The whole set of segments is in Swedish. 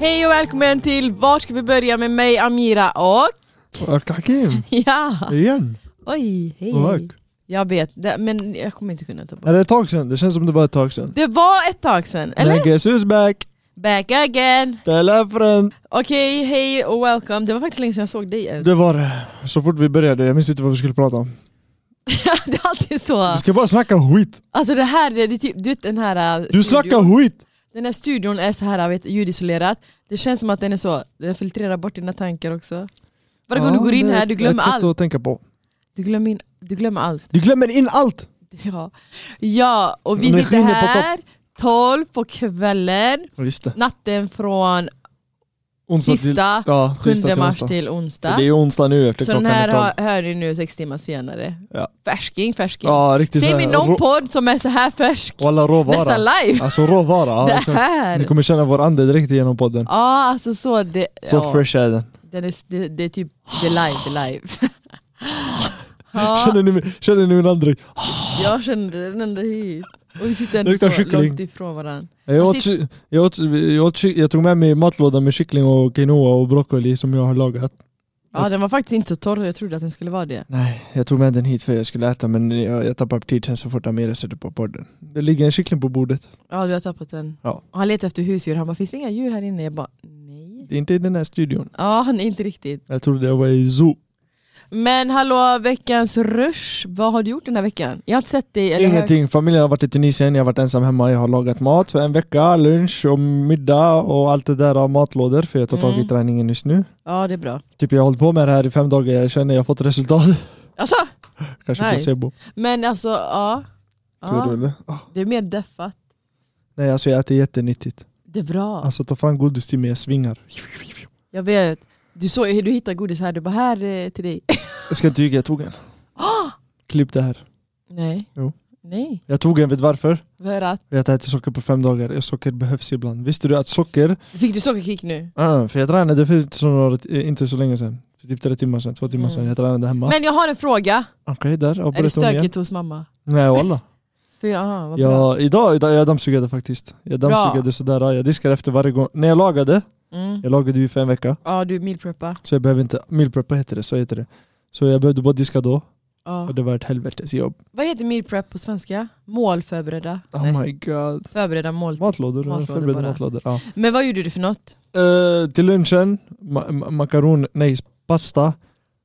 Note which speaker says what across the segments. Speaker 1: Hej och välkommen till Var ska vi börja med mig Amira och...
Speaker 2: Och Hakim,
Speaker 1: Ja!
Speaker 2: igen.
Speaker 1: Oj, hej hej.
Speaker 2: Och.
Speaker 1: Jag vet, det- men jag kommer inte kunna ta bort
Speaker 2: Är det ett tag sedan? Det känns som det var ett tag sedan.
Speaker 1: det. var ett tag sedan, eller?
Speaker 2: Men guess who's back?
Speaker 1: Back again!
Speaker 2: Telefonfriend!
Speaker 1: Okej, hej och welcome. Det var faktiskt länge sedan jag såg dig ens.
Speaker 2: Det var det. Så fort vi började, jag minns inte vad vi skulle prata om.
Speaker 1: det är alltid så.
Speaker 2: Vi ska bara snacka skit.
Speaker 1: Alltså det här, det är typ, du vet den här... eh,
Speaker 2: Du
Speaker 1: studion.
Speaker 2: snackar skit!
Speaker 1: Den här studion är så här äh, vet, ljudisolerat. Det känns som att den är så, den filtrerar bort dina tankar också. Varje gång
Speaker 2: Ja,
Speaker 1: du går in
Speaker 2: det är
Speaker 1: här, du glömmer
Speaker 2: ett sätt
Speaker 1: allt.
Speaker 2: att tänka på.
Speaker 1: Du glömmer, in, du glömmer allt.
Speaker 2: Du glömmer in allt!
Speaker 1: Ja, ja och vi
Speaker 2: Energin
Speaker 1: sitter
Speaker 2: är på topp.
Speaker 1: här 12 på kvällen,
Speaker 2: Ja, Just det.
Speaker 1: natten från
Speaker 2: Onsdag till...
Speaker 1: tisdag
Speaker 2: Ja,
Speaker 1: 7
Speaker 2: tisdag till
Speaker 1: mars
Speaker 2: onsdag.
Speaker 1: till
Speaker 2: Och
Speaker 1: onsdag.
Speaker 2: Det är onsdag nu efter
Speaker 1: Så den
Speaker 2: klockan
Speaker 1: här
Speaker 2: är tolv.
Speaker 1: har, hör ni nu sex timmar senare.
Speaker 2: Ja.
Speaker 1: Färsking, färsking.
Speaker 2: Ja, riktigt
Speaker 1: Säg
Speaker 2: så
Speaker 1: mig
Speaker 2: här-
Speaker 1: någon
Speaker 2: rå-
Speaker 1: podd som är så här färsk.
Speaker 2: och alla råvara.
Speaker 1: Nästan live.
Speaker 2: Alltså råvara. ja,
Speaker 1: det
Speaker 2: exakt.
Speaker 1: här.
Speaker 2: Ni
Speaker 1: Ja,
Speaker 2: kommer känna vår ande direkt igenom podden.
Speaker 1: alltså så. Det,
Speaker 2: Så
Speaker 1: ja,
Speaker 2: fresh är den.
Speaker 1: den är, det, det är typ, det är live, det är live. ja,
Speaker 2: Känner ni, känner ni min andedräkt?
Speaker 1: jag kände den ända hit. Och vi sitter ändå
Speaker 2: Luktar
Speaker 1: så
Speaker 2: kyckling.
Speaker 1: långt ifrån varandra.
Speaker 2: Jag,
Speaker 1: Och
Speaker 2: åt, ky- jag, åt, jag, åt, ky- jag tog med mig matlåda med kyckling och quinoa och broccoli som jag har lagat.
Speaker 1: Ja, den var faktiskt inte så torr, jag trodde att den skulle vara det.
Speaker 2: Nej, jag tog med den hit för jag skulle äta men jag, jag tappade aptiten så fort Amira sätter på podden. Det ligger en kyckling på bordet.
Speaker 1: Ja du har tappat den.
Speaker 2: Ja.
Speaker 1: Och han letar efter husdjur, han bara finns det inga djur här inne? Jag bara nej.
Speaker 2: Det är inte i den här studion.
Speaker 1: Ja han är inte riktigt.
Speaker 2: Jag trodde det var i zoo.
Speaker 1: Men hallå veckans rush, vad har du gjort den här veckan? Jag har inte sett dig eller hört-
Speaker 2: Ingenting. Familjen har varit i Tunisien, jag har varit ensam hemma, jag har lagat mat för en vecka, lunch och middag och allt det där av matlådor för jag tar tag i
Speaker 1: Mm.
Speaker 2: träningen just nu.
Speaker 1: Ja det är bra.
Speaker 2: Typ jag har hållit på med det här i fem dagar, jag känner jag har fått resultat.
Speaker 1: Alltså,
Speaker 2: Kanske
Speaker 1: Nice.
Speaker 2: placebo.
Speaker 1: men alltså ja.
Speaker 2: Tror du
Speaker 1: ja.
Speaker 2: eller? Ah.
Speaker 1: Det är mer deffat.
Speaker 2: Nej alltså jag äter jättenyttigt.
Speaker 1: Det är bra.
Speaker 2: Alltså ta fram godis till mig, jag svingar.
Speaker 1: Jag vet. Du såg hur du hittade godis här, du bara här eh, till dig.
Speaker 2: Jag ska inte ljuga, jag tog en. Klipp det här.
Speaker 1: nej.
Speaker 2: Jo.
Speaker 1: Nej.
Speaker 2: Jag tog en, vet du varför?
Speaker 1: För att.
Speaker 2: För att jag äter socker på fem dagar. Socker behövs ibland. Visste du att socker...
Speaker 1: Fick du sockerkick nu?
Speaker 2: Ah, för jag tränade för inte så, några, eh, inte så länge sedan. För typ tre timmar sedan, två timmar sedan.
Speaker 1: Mm.
Speaker 2: Jag tränade hemma. Okej,
Speaker 1: Men jag har en fråga.
Speaker 2: där
Speaker 1: Är det
Speaker 2: avbröt hon igen.
Speaker 1: stökigt hos mamma?
Speaker 2: Nej walla.
Speaker 1: För, aha, vad bra.
Speaker 2: Jag, idag, idag, jag dammsugade faktiskt. Jag
Speaker 1: Bra.
Speaker 2: dammsugade sådär, jag diskar efter varje gång. När jag lagade,
Speaker 1: Mm.
Speaker 2: jag lagade ju för en vecka.
Speaker 1: Ja du meal preppa.
Speaker 2: Så jag behöver inte, meal preppa heter det, så heter det. Så jag behövde bara diska då,
Speaker 1: Ja.
Speaker 2: och det var ett helvetes jobb.
Speaker 1: Vad heter meal prep på svenska? Målförberedda? Nej,
Speaker 2: Oh my god.
Speaker 1: förberedda mål.
Speaker 2: Matlådor,
Speaker 1: Matlådor
Speaker 2: förberedda
Speaker 1: bara.
Speaker 2: matlådor. Ja.
Speaker 1: Men vad gjorde du för något?
Speaker 2: Eh, till lunchen, ma- ma- makaron, nej pasta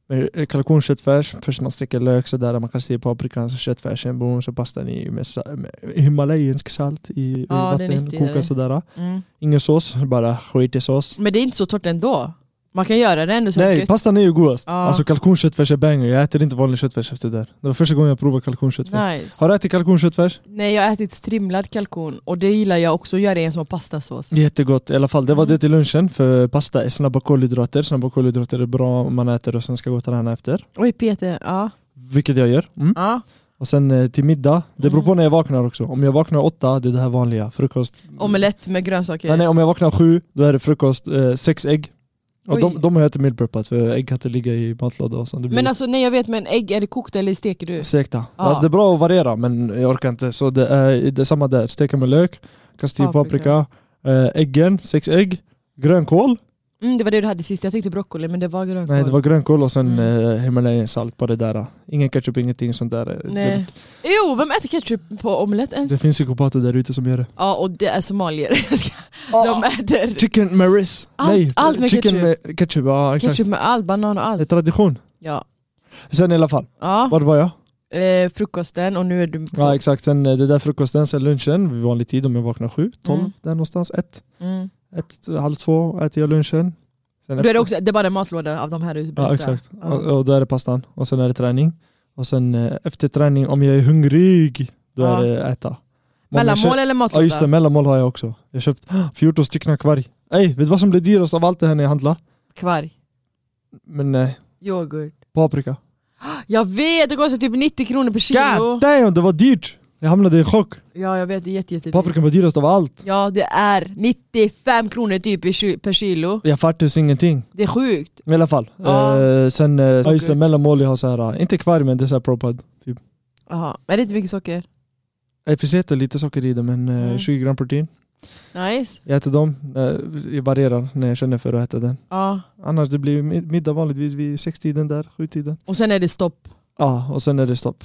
Speaker 2: med eh, kalkonköttfärs, först man steker lök sådär, man kastar i paprikan, så köttfärsen, boom, så pastan i med, sa- med himalayensk salt i, i
Speaker 1: Ja, det är
Speaker 2: vatten,
Speaker 1: nyttigt, eller?
Speaker 2: koka sådär. Ingen sås, bara skit i sås.
Speaker 1: Mm. Men det är inte så torrt ändå. Man kan göra det ändå
Speaker 2: Nej,
Speaker 1: säkert.
Speaker 2: pastan är ju godast.
Speaker 1: Ja.
Speaker 2: Alltså kalkonköttfärs är banger, jag äter inte vanlig köttfärs efter det där. Det var första gången jag provade kalkonköttfärs.
Speaker 1: nice.
Speaker 2: Har du ätit kalkonköttfärs?
Speaker 1: Nej jag har ätit strimlad kalkon och det gillar jag också att göra i en sån pastasås.
Speaker 2: Jättegott i alla fall, det var
Speaker 1: Mm.
Speaker 2: det till lunchen för pasta är snabba kolhydrater, snabba kolhydrater är bra om man äter och sen ska gå och träna efter.
Speaker 1: Oj Peter, ja.
Speaker 2: Vilket jag gör. Mm.
Speaker 1: ja.
Speaker 2: Och sen eh, till middag, det beror på
Speaker 1: Mm.
Speaker 2: när jag vaknar också. Om jag vaknar åtta, det är det här vanliga, frukost.
Speaker 1: Omelett med
Speaker 2: Nej,
Speaker 1: grönsaker.
Speaker 2: nej, om jag vaknar sju, då är det frukost, eh, sex ägg. Och
Speaker 1: Oj.
Speaker 2: de, de har jag inte mealpreppat för ägg kan inte ligga i matlåda och sånt. Det blir
Speaker 1: Men alltså nej jag vet men ägg, är det kokt eller steker du?
Speaker 2: stekta.
Speaker 1: Ja.
Speaker 2: Alltså det är bra att variera men jag orkar inte. Så det är, det är samma där, steka med lök, kasta i
Speaker 1: Paprika.
Speaker 2: paprika, eh, äggen, sex ägg, grönkål.
Speaker 1: Mm, det var det du hade sist, jag tänkte broccoli men det var grönkål.
Speaker 2: Nej det var grönkål och sen
Speaker 1: Mm.
Speaker 2: mm. eh, salt på det där. Ingen ketchup, ingenting sånt där.
Speaker 1: Nej.
Speaker 2: Det,
Speaker 1: Jo, vem äter ketchup på omelett ens?
Speaker 2: det finns psykopater där ute som gör det.
Speaker 1: Ja och det är somalier. De äter
Speaker 2: Chicken med ris.
Speaker 1: Ah. Allt-
Speaker 2: Nej,
Speaker 1: allt med
Speaker 2: chicken med ketchup. Ja, exakt.
Speaker 1: ketchup med allt, banan och
Speaker 2: Det är
Speaker 1: allt.
Speaker 2: tradition.
Speaker 1: Ja.
Speaker 2: Sen i alla fall,
Speaker 1: ja.
Speaker 2: var var jag?
Speaker 1: Eh, frukosten och nu är du
Speaker 2: Ja exakt, sen eh, det där frukosten, sen lunchen vid vanlig tid om jag vaknar sju, tolv
Speaker 1: Mm.
Speaker 2: där någonstans, ett,
Speaker 1: Mm.
Speaker 2: ett, halv två äter jag lunchen. Sen
Speaker 1: Då är
Speaker 2: efter-
Speaker 1: det, också, det är bara en matlåda av de här du
Speaker 2: Ja
Speaker 1: berättade.
Speaker 2: exakt,
Speaker 1: Ja.
Speaker 2: Och, och då är det pastan och sen är det träning. Och sen eh, efter träning, om jag är hungrig, då
Speaker 1: Ja.
Speaker 2: är det äta. Men om jag
Speaker 1: Mellanmål
Speaker 2: kö-
Speaker 1: eller matlåda?
Speaker 2: Ja just det, mellanmål har jag också. Jag har köpt 14 stycken kvarg. Ey, vet du vad som blir dyrast av allt det här när jag handlar?
Speaker 1: Kvarg,
Speaker 2: Men nej,
Speaker 1: yoghurt.
Speaker 2: paprika.
Speaker 1: Jag vet, det kostar typ 90 kronor per kilo.
Speaker 2: God damn, det var dyrt! Jag hamnade i chock.
Speaker 1: Ja jag vet, det är jätte, jätte
Speaker 2: Paprikan var dyrast av allt.
Speaker 1: Ja det är 95 kronor typ i ki- per kilo.
Speaker 2: Jag fattar ingenting.
Speaker 1: Det är sjukt.
Speaker 2: I alla fall.
Speaker 1: Ja.
Speaker 2: Eh, sen, eh, ja just det,
Speaker 1: Okej.
Speaker 2: mellanmål jag har så här, eh, inte kvarg men det är så här propad. Typ.
Speaker 1: Aha. Är det inte mycket socker?
Speaker 2: Jag försöker lite socker i det men eh,
Speaker 1: Mm.
Speaker 2: 20 gram protein.
Speaker 1: Nice.
Speaker 2: Jag äter dem, eh, jag varierar när jag känner för att äta den.
Speaker 1: Ja.
Speaker 2: Annars det blir mid- middag vanligtvis vid sextiden där, sjutiden.
Speaker 1: Och sen är det stopp.
Speaker 2: Ja, och sen är det stopp.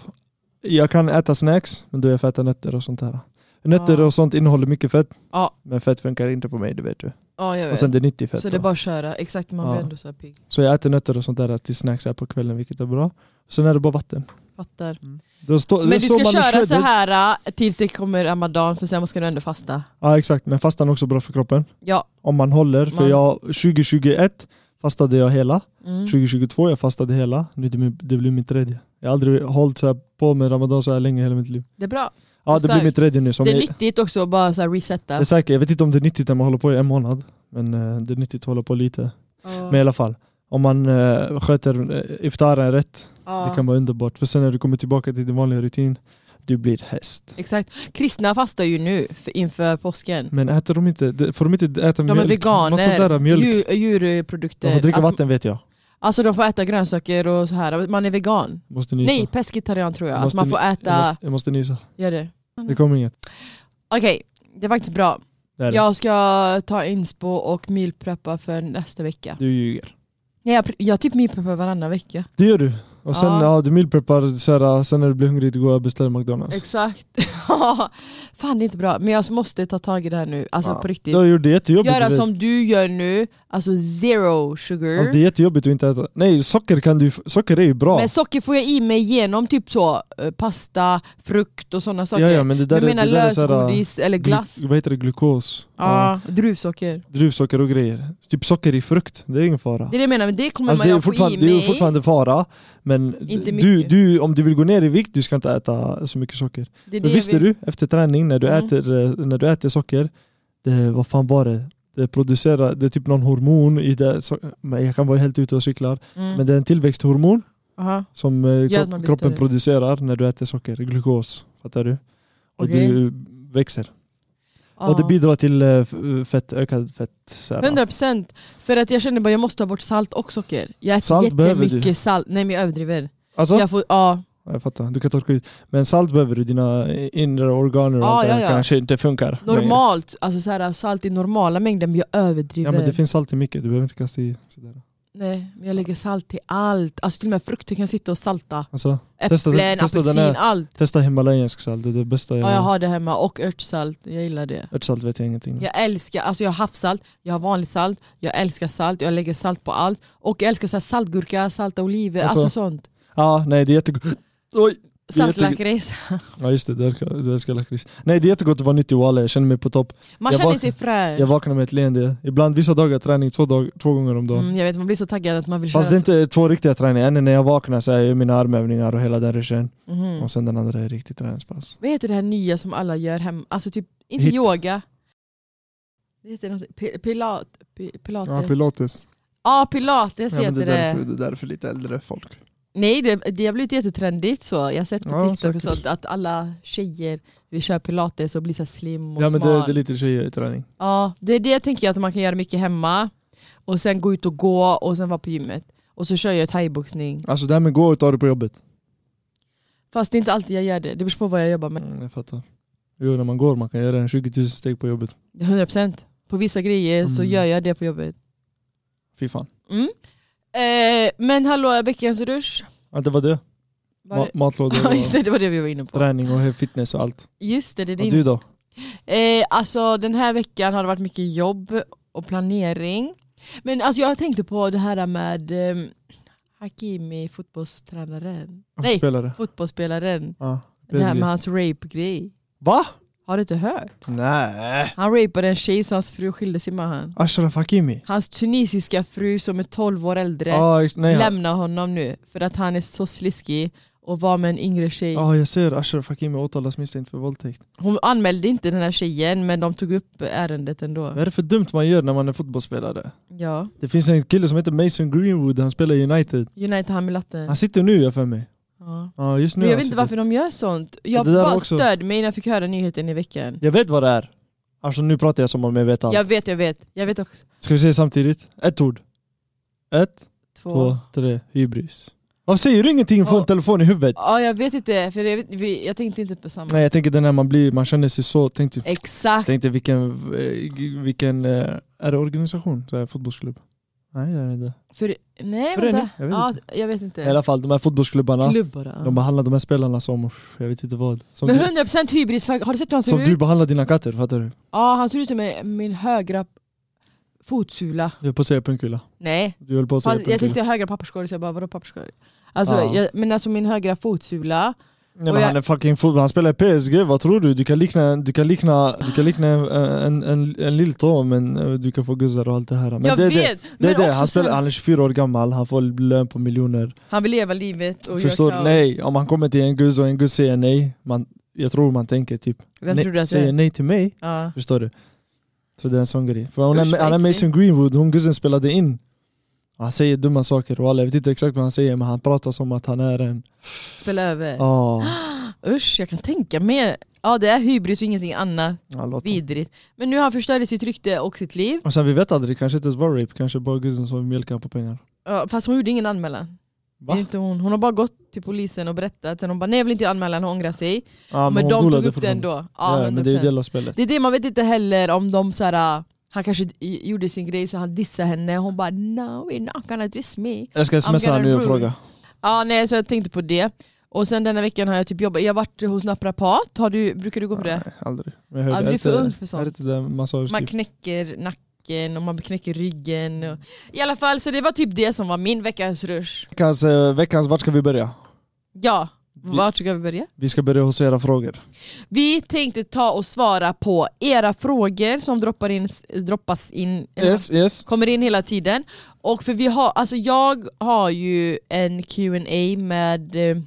Speaker 2: Jag kan äta snacks, men då är jag får äta nötter och sånt här. Nötter
Speaker 1: Ja.
Speaker 2: och sånt innehåller mycket fett.
Speaker 1: Ja.
Speaker 2: Men fett funkar inte på mig, det vet du.
Speaker 1: Ja, jag
Speaker 2: Och
Speaker 1: vet.
Speaker 2: sen det är 90 fett.
Speaker 1: så det är
Speaker 2: då.
Speaker 1: bara att köra. Exakt, man
Speaker 2: Ja.
Speaker 1: blir ändå så här pigg.
Speaker 2: Så jag äter nötter och sånt där till snacks här på kvällen, vilket är bra. Sen är det bara vatten.
Speaker 1: Fattar.
Speaker 2: Då står-
Speaker 1: Men
Speaker 2: då
Speaker 1: du
Speaker 2: står
Speaker 1: ska
Speaker 2: man i
Speaker 1: köra
Speaker 2: shredded.
Speaker 1: så här äh, tills det kommer ramadan för sen ska du ändå fasta.
Speaker 2: Ja exakt, men fastan är också bra för kroppen.
Speaker 1: Ja.
Speaker 2: Om man håller, för
Speaker 1: Man-
Speaker 2: jag 2021 fastade jag hela.
Speaker 1: Mm.
Speaker 2: 2022 jag fastade hela. Nu är det, min, det blir min tredje. Jag har aldrig hållit så här på med ramadan så här länge i hela mitt liv.
Speaker 1: Det är bra.
Speaker 2: Ja
Speaker 1: Vad
Speaker 2: det blir
Speaker 1: starkt.
Speaker 2: min tredje nu. Som
Speaker 1: Det är
Speaker 2: jag,
Speaker 1: nyttigt också att bara så här resetta.
Speaker 2: jag är säker, jag vet inte om det är nyttigt när man håller på i en månad. Men eh, det är nyttigt att hålla på lite.
Speaker 1: Ja.
Speaker 2: Men i alla fall, om man eh, sköter eh, iftaren rätt,
Speaker 1: Ja.
Speaker 2: det kan vara underbart. För sen när du kommer tillbaka till din vanliga rutin, du blir häst.
Speaker 1: Exakt. Kristna fastar ju nu för, inför påsken.
Speaker 2: Men äter de inte, de- får de inte äta
Speaker 1: De
Speaker 2: Mm, mjölk?
Speaker 1: är
Speaker 2: Något sånt där,
Speaker 1: veganer,
Speaker 2: mjölk.
Speaker 1: djur,
Speaker 2: De
Speaker 1: djurprodukter.
Speaker 2: får dricka
Speaker 1: Att-
Speaker 2: vatten vet jag.
Speaker 1: Alltså de får äta grönsaker och så här. Man är vegan.
Speaker 2: Måste nysa.
Speaker 1: Nej, pescetarian tror jag.
Speaker 2: Jag
Speaker 1: Att man
Speaker 2: måste
Speaker 1: får
Speaker 2: Jag
Speaker 1: äta...
Speaker 2: måste, jag måste nysa.
Speaker 1: Gör det.
Speaker 2: Det kommer inget.
Speaker 1: Okej, det är faktiskt bra.
Speaker 2: Det är det.
Speaker 1: Jag ska ta inspo och mealpreppa för nästa vecka.
Speaker 2: Du ljuger.
Speaker 1: Nej, jag, pr- jag typ mealpreppar varannan vecka.
Speaker 2: Det gör du. Och sen,
Speaker 1: Ja.
Speaker 2: ja. du mealpreppar, så här, sen när du blir hungrig, du går och beställer McDonalds.
Speaker 1: Exakt. Fan det är inte bra. Men jag måste ta tag i det här nu. Alltså
Speaker 2: Ja.
Speaker 1: på riktigt.
Speaker 2: Jag gjorde det jättejobbigt.
Speaker 1: Göra
Speaker 2: du vet.
Speaker 1: som du gör nu. Alltså zero sugar.
Speaker 2: Alltså, det är jättejobbigt att inte äta. Nej, socker kan du socker är ju bra.
Speaker 1: Men socker får jag i mig genom typ så eh, pasta, frukt och sådana saker.
Speaker 2: ja, ja, men det där,
Speaker 1: jag
Speaker 2: är-
Speaker 1: menar
Speaker 2: det där är så här,
Speaker 1: lösgodis eller
Speaker 2: glu-
Speaker 1: glass.
Speaker 2: Vad heter det? Glukos. Ja.
Speaker 1: Ja, druvsocker.
Speaker 2: Druvsocker och grejer. Typ socker i frukt, det är ingen fara.
Speaker 1: Det är det jag menar, men det kommer
Speaker 2: Alltså,
Speaker 1: man
Speaker 2: det, är
Speaker 1: jag få i
Speaker 2: fortfarande, det är
Speaker 1: mig.
Speaker 2: fortfarande fara, men
Speaker 1: Inte
Speaker 2: du,
Speaker 1: mycket.
Speaker 2: du, om du vill gå ner i vikt, du ska inte äta så mycket socker.
Speaker 1: Det är det
Speaker 2: Men
Speaker 1: jag
Speaker 2: visste
Speaker 1: vill-
Speaker 2: du, efter träning när du,
Speaker 1: Mm.
Speaker 2: äter, eh, när du äter socker, det, vad fan var det? Det producerar, det är typ någon hormon i det, so- men jag kan vara helt ute och cyklar,
Speaker 1: Mm.
Speaker 2: men det är en tillväxthormon
Speaker 1: Aha.
Speaker 2: som eh,
Speaker 1: att
Speaker 2: kropp,
Speaker 1: man blir
Speaker 2: kroppen
Speaker 1: större.
Speaker 2: producerar när du äter socker, glukos, fattar du? Och
Speaker 1: Okej. Ah.
Speaker 2: du eh, växer.
Speaker 1: Ja.
Speaker 2: Och det bidrar till eh, f- fett, ökad fett. Så här.
Speaker 1: 100% för att jag känner bara jag måste ta bort salt och socker. Jag äter
Speaker 2: Salt behöver
Speaker 1: jättemycket
Speaker 2: du.
Speaker 1: salt. Nej men jag överdriver.
Speaker 2: Alltså,
Speaker 1: Jag får, ja.
Speaker 2: Ja, jag fattar, du kan torka ut. Men salt behöver du, dina inre organer och
Speaker 1: Ja,
Speaker 2: allt
Speaker 1: Ah, ja,
Speaker 2: det där
Speaker 1: ja.
Speaker 2: kanske inte funkar. längre.
Speaker 1: Normalt, alltså så här, salt i normala mängder men jag överdriver.
Speaker 2: Ja men det finns salt i mycket, du behöver inte kasta i sådär.
Speaker 1: Nej, men jag lägger salt till allt. Alltså till och med frukter kan jag sitta och salta.
Speaker 2: Alltså,
Speaker 1: Äpplen,
Speaker 2: Testa den- testa den
Speaker 1: apelsin,
Speaker 2: här.
Speaker 1: allt.
Speaker 2: Testa himalayansk salt, det är det bästa jag
Speaker 1: Ja, jag har det hemma och örtsalt, jag gillar det.
Speaker 2: Örtsalt vet jag ingenting om.
Speaker 1: Jag älskar, alltså jag har havssalt, jag har vanligt salt, jag älskar salt, jag lägger salt på allt. Och jag älskar så här saltgurka, salta oliver,
Speaker 2: Alltså,
Speaker 1: alltså, sånt.
Speaker 2: Ja, nej det är jättegott. Oj! det är jätte-
Speaker 1: Saltlakrits.
Speaker 2: Ja just det, du älskar, du älskar lakrits. Nej det är jättegott att vara nyttig walla, jag känner mig på topp.
Speaker 1: Man
Speaker 2: Jag
Speaker 1: känner
Speaker 2: vak-
Speaker 1: sig
Speaker 2: Jag
Speaker 1: fräsch.
Speaker 2: vaknar med ett leende. Ibland vissa dagar träning två, dag, två gånger om dagen.
Speaker 1: Mm, jag vet, man blir så taggad att man vill
Speaker 2: Fast det är inte två riktiga träningar, en är när jag vaknar så jag gör mina armövningar och hela den ruschen.
Speaker 1: så- Mhm.
Speaker 2: Och sen den andra är riktigt träningspass.
Speaker 1: Vad heter det här nya som alla gör hemma? Alltså typ, inte
Speaker 2: Hit.
Speaker 1: yoga. Det heter något, pi- pilat, pi- pilates. Ja,
Speaker 2: pilates.
Speaker 1: pilates heter det.
Speaker 2: är därför lite äldre folk.
Speaker 1: Nej, det, det har blivit jättetrendigt så. Jag har sett på
Speaker 2: Ja,
Speaker 1: TikTok och
Speaker 2: säkert.
Speaker 1: sånt att alla tjejer vill köra pilates och bli så här slim och
Speaker 2: Ja men
Speaker 1: smal.
Speaker 2: det, det är lite tjejer i träning.
Speaker 1: Ja, det är det tänker jag att man kan göra mycket hemma och sen gå ut och gå och sen vara på gymmet. Och så kör jag thaiboxning.
Speaker 2: Alltså det här med gå och ta det på jobbet.
Speaker 1: Fast det är inte alltid jag gör det, det beror på vad jag jobbar med.
Speaker 2: Mm, jag fattar. Jo när man går man kan göra en 20 000 steg på jobbet.
Speaker 1: 100%. På vissa grejer så
Speaker 2: Mm.
Speaker 1: gör jag det på jobbet.
Speaker 2: Fy fan.
Speaker 1: Mm. Eh, men hallå, veckans rush.
Speaker 2: Ja, det var det.
Speaker 1: Var
Speaker 2: Ma-
Speaker 1: det-
Speaker 2: matlådor
Speaker 1: Ja, just
Speaker 2: och
Speaker 1: det, det var det vi var inne på.
Speaker 2: träning och fitness och allt.
Speaker 1: Just det, det är
Speaker 2: Och
Speaker 1: din
Speaker 2: du då?
Speaker 1: Eh, alltså den här veckan har det varit mycket jobb och planering. Men alltså jag tänkte på det här med ehm, Hakimi, fotbollstränaren. Nej,
Speaker 2: Spelare?
Speaker 1: fotbollsspelaren.
Speaker 2: Ja,
Speaker 1: Det här
Speaker 2: PSG.
Speaker 1: med hans rape-grej.
Speaker 2: Va?
Speaker 1: Har du inte hört?
Speaker 2: Nej.
Speaker 1: Han rapade en tjej så hans fru skilde sig med han.
Speaker 2: Ashraf Hakimi?
Speaker 1: Hans tunisiska fru som är 12 år äldre
Speaker 2: Ja, ex- nej. han-
Speaker 1: lämnar honom nu för att han är så sliskig och var med en yngre tjej.
Speaker 2: Ja, jag ser Ashraf Hakimi åtalas misstänkt för våldtäkt.
Speaker 1: Hon anmälde inte den här tjejen men de tog upp ärendet ändå.
Speaker 2: Vad är det för dumt man gör när man är fotbollsspelare?
Speaker 1: Ja.
Speaker 2: Det finns en kille som heter Mason Greenwood, han spelar i United.
Speaker 1: United han med latte.
Speaker 2: Han sitter nu jag för mig.
Speaker 1: Ja.
Speaker 2: Ja, just nu
Speaker 1: Men jag
Speaker 2: han
Speaker 1: vet inte
Speaker 2: sitter.
Speaker 1: varför de gör sånt. Jag
Speaker 2: alltså, typ. Det där
Speaker 1: bara
Speaker 2: också.
Speaker 1: stöd mig när jag fick höra nyheten i veckan.
Speaker 2: Jag vet vad det är. Alltså nu pratar jag som om jag vet allt.
Speaker 1: Jag vet, jag vet. Jag vet också.
Speaker 2: Ska vi säga samtidigt? Ett ord. Ett,
Speaker 1: Två.
Speaker 2: två, tre. Hybris. Varför säger du ingenting för en
Speaker 1: Ja.
Speaker 2: telefon i huvudet?
Speaker 1: Ja, jag vet inte, för jag, vet, vi, jag tänkte inte på samma.
Speaker 2: Nej jag tänker det när man blir, man känner sig så, tänkte,
Speaker 1: Exakt.
Speaker 2: tänkte vilken, eh, vilken, eh, är det organisation? Så här, fotbollsklubb? Nej det är det inte.
Speaker 1: För, nej,
Speaker 2: För det är
Speaker 1: vänta.
Speaker 2: ni- jag vet
Speaker 1: ja, jag vet inte.
Speaker 2: I alla fall de här fotbollsklubbarna,
Speaker 1: Klubbar. ja.
Speaker 2: de behandlar de här spelarna som, uff, jag vet inte vad. Som,
Speaker 1: Men
Speaker 2: du,
Speaker 1: 100% hybris, har du sett hur han ser
Speaker 2: som
Speaker 1: ut?
Speaker 2: du behandlar dina katter, fattar du?
Speaker 1: Ja, han ser ut som en- min högra fotsula.
Speaker 2: Du höll på att säga pungkula.
Speaker 1: Nej,
Speaker 2: Du höll på att säga
Speaker 1: fast jag
Speaker 2: pungkula.
Speaker 1: tänkte högra papperskorg så jag bara vadå papperskorg? Alltså,
Speaker 2: Ja.
Speaker 1: jag, men alltså min högra fotsula.
Speaker 2: Nej,
Speaker 1: Och
Speaker 2: men
Speaker 1: jag-
Speaker 2: han är fucking fotboll, han spelar i PSG, vad tror du? Du kan likna, du kan likna, du kan likna en, en, en, en lilltå men eh, du kan få guzzar och allt det här. Men
Speaker 1: jag
Speaker 2: det, är det,
Speaker 1: vet!
Speaker 2: det,
Speaker 1: men
Speaker 2: är det.
Speaker 1: också
Speaker 2: Han, spelar,
Speaker 1: sen-
Speaker 2: han är 24 år gammal, han får lön på miljoner.
Speaker 1: han vill leva livet och
Speaker 2: Förstår
Speaker 1: göra kaos.
Speaker 2: du? Nej, om han kommer till en guzz och en guzz säger nej, man, jag tror man tänker typ
Speaker 1: Vem
Speaker 2: nej,
Speaker 1: tror du att jag
Speaker 2: säger
Speaker 1: är?
Speaker 2: nej till mig,
Speaker 1: Ja.
Speaker 2: förstår du? Så det är en sån grej. För hon är,
Speaker 1: Usch, vad
Speaker 2: han är
Speaker 1: äcklig.
Speaker 2: Mason Greenwood, hon guzzen spelade in. Han säger dumma saker och alla, jag vet inte exakt vad han säger men han pratar som att han är en...
Speaker 1: Spela över.
Speaker 2: Oh,
Speaker 1: Usch, jag kan tänka mig. Ja, det är hybris och ingenting annat.
Speaker 2: han låter-
Speaker 1: Vidrigt. Men nu har han förstört sitt rykte och sitt liv.
Speaker 2: Och sen vi vet aldrig, kanske inte ens var rape, kanske bara guzzen som mjölkar på pengar.
Speaker 1: Ja, Fast hon gjorde ingen anmälan.
Speaker 2: Va?
Speaker 1: Det är inte hon. hon har bara gått till polisen och berättat. Sen hon bara nej jag vill inte anmäla, hon ångrar sig.
Speaker 2: Ja,
Speaker 1: men
Speaker 2: Ah, hon
Speaker 1: de tog
Speaker 2: golade
Speaker 1: upp det
Speaker 2: fortfarande.
Speaker 1: ändå. Ja,
Speaker 2: Ja, men det är ju
Speaker 1: 100%.
Speaker 2: del av spelet.
Speaker 1: Det är det, man vet inte heller om de så här, han kanske i- gjorde sin grej så han dissade henne, hon bara no we're not gonna diss me.
Speaker 2: Jag ska smsa
Speaker 1: gonna
Speaker 2: honom nu och
Speaker 1: rule.
Speaker 2: fråga.
Speaker 1: Ja nej så jag tänkte på det. Och sen denna veckan har jag typ jobbat, jag har varit hos naprapat, har du, brukar du gå på det?
Speaker 2: Nej, aldrig. Men jag
Speaker 1: Ja,
Speaker 2: hörde,
Speaker 1: du är
Speaker 2: är
Speaker 1: för
Speaker 2: inte-
Speaker 1: ung för sånt.
Speaker 2: Är inte det massage typ?
Speaker 1: Man knäcker nacken och man knäcker ryggen. Och... I alla fall så det var typ det som var min veckans rush.
Speaker 2: Veckans, eh, veckans, vart ska vi börja?
Speaker 1: Ja,
Speaker 2: Vi-
Speaker 1: vart ska vi börja?
Speaker 2: Vi ska börja hos era frågor.
Speaker 1: Vi tänkte ta och svara på era frågor som droppar in, droppas in eller
Speaker 2: Yes, yes.
Speaker 1: kommer in hela tiden. Och för vi har, alltså jag har ju en Q&A med eh,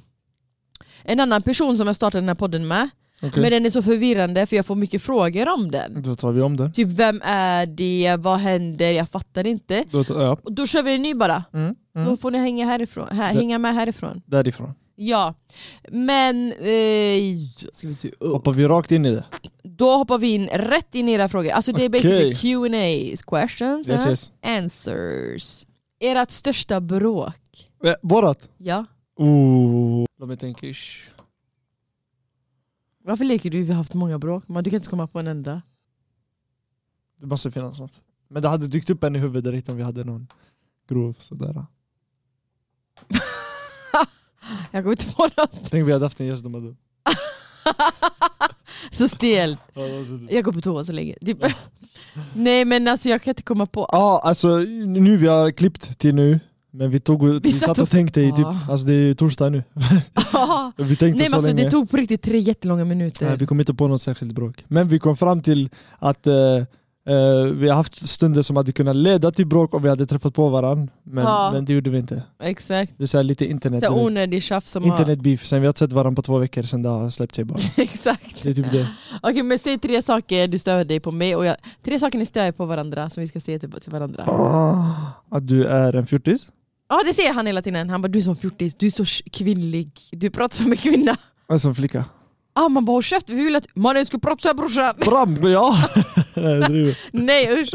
Speaker 1: en annan person som jag startade den här podden med.
Speaker 2: Okej. Mm.
Speaker 1: Men den är så förvirrande för jag får mycket frågor om den.
Speaker 2: Då tar vi om den.
Speaker 1: Typ vem är det, vad händer, jag fattar inte.
Speaker 2: Då tar, ja.
Speaker 1: Och då kör vi en ny bara,
Speaker 2: mm.
Speaker 1: så
Speaker 2: Mm.
Speaker 1: får ni hänga, härifrån, här,
Speaker 2: Det-
Speaker 1: hänga med härifrån.
Speaker 2: Därifrån.
Speaker 1: Ja, men eh, ska vi se upp.
Speaker 2: Hoppar vi rakt in i det.
Speaker 1: då hoppar vi in rätt in i era frågor. Alltså det är basically Q&A, questions
Speaker 2: Yes,
Speaker 1: eh,
Speaker 2: yes.
Speaker 1: answers. Ert största bråk?
Speaker 2: Eh, Borat.
Speaker 1: Ja.
Speaker 2: Ooh. Låt mig tänka. ish.
Speaker 1: Varför leker du? Vi har haft många bråk, men du kan inte komma på en enda.
Speaker 2: Det måste finnas något. Men det hade dykt upp en i huvudet direkt om vi hade någon grov sådär.
Speaker 1: Jag kommer inte på något.
Speaker 2: Tänk vi hade haft en gäst de hade...
Speaker 1: Så stel.
Speaker 2: Ja, det var så-
Speaker 1: Jag går på toa så länge. Typ.
Speaker 2: Mm.
Speaker 1: Nej men alltså jag kan inte komma på.
Speaker 2: Ja, alltså nu vi har klippt till nu, men vi, tog, vi,
Speaker 1: satt
Speaker 2: satt
Speaker 1: och-
Speaker 2: och tänkte i typ,
Speaker 1: Ja.
Speaker 2: alltså det är ju torsdag nu. Vi tänkte
Speaker 1: Nej men
Speaker 2: Ah. så
Speaker 1: alltså
Speaker 2: länge.
Speaker 1: det tog på riktigt tre jättelånga
Speaker 2: Nej,
Speaker 1: minuter.
Speaker 2: vi kom inte på något särskilt bråk. Men vi kom fram till att eh, eh, vi har haft stunder som hade kunnat leda till bråk om vi hade träffat på varandra. Men,
Speaker 1: Ja.
Speaker 2: men det gjorde vi inte.
Speaker 1: Exakt.
Speaker 2: Det är så här lite internet.
Speaker 1: Så här onödig tjafs som har...
Speaker 2: Internetbeef, sen vi har inte sett varandra på två veckor sen det har släppt sig bara.
Speaker 1: Exakt.
Speaker 2: Det är typ det.
Speaker 1: Okej men säg tre saker du stör dig på mig och jag... tre saker ni stör er på varandra som vi ska säga till, till varandra. Ja
Speaker 2: Att du är en fjortis.
Speaker 1: det säger han hela tiden. Han bara du är som fjortis, du är så sh- kvinnlig, du pratar som en kvinna.
Speaker 2: Alltså en flicka.
Speaker 1: Ah, man bara håll käften, vi vill att mannen ska prata såhär brorsan.
Speaker 2: Bram, ja! Nej, jag driver.
Speaker 1: Nej usch.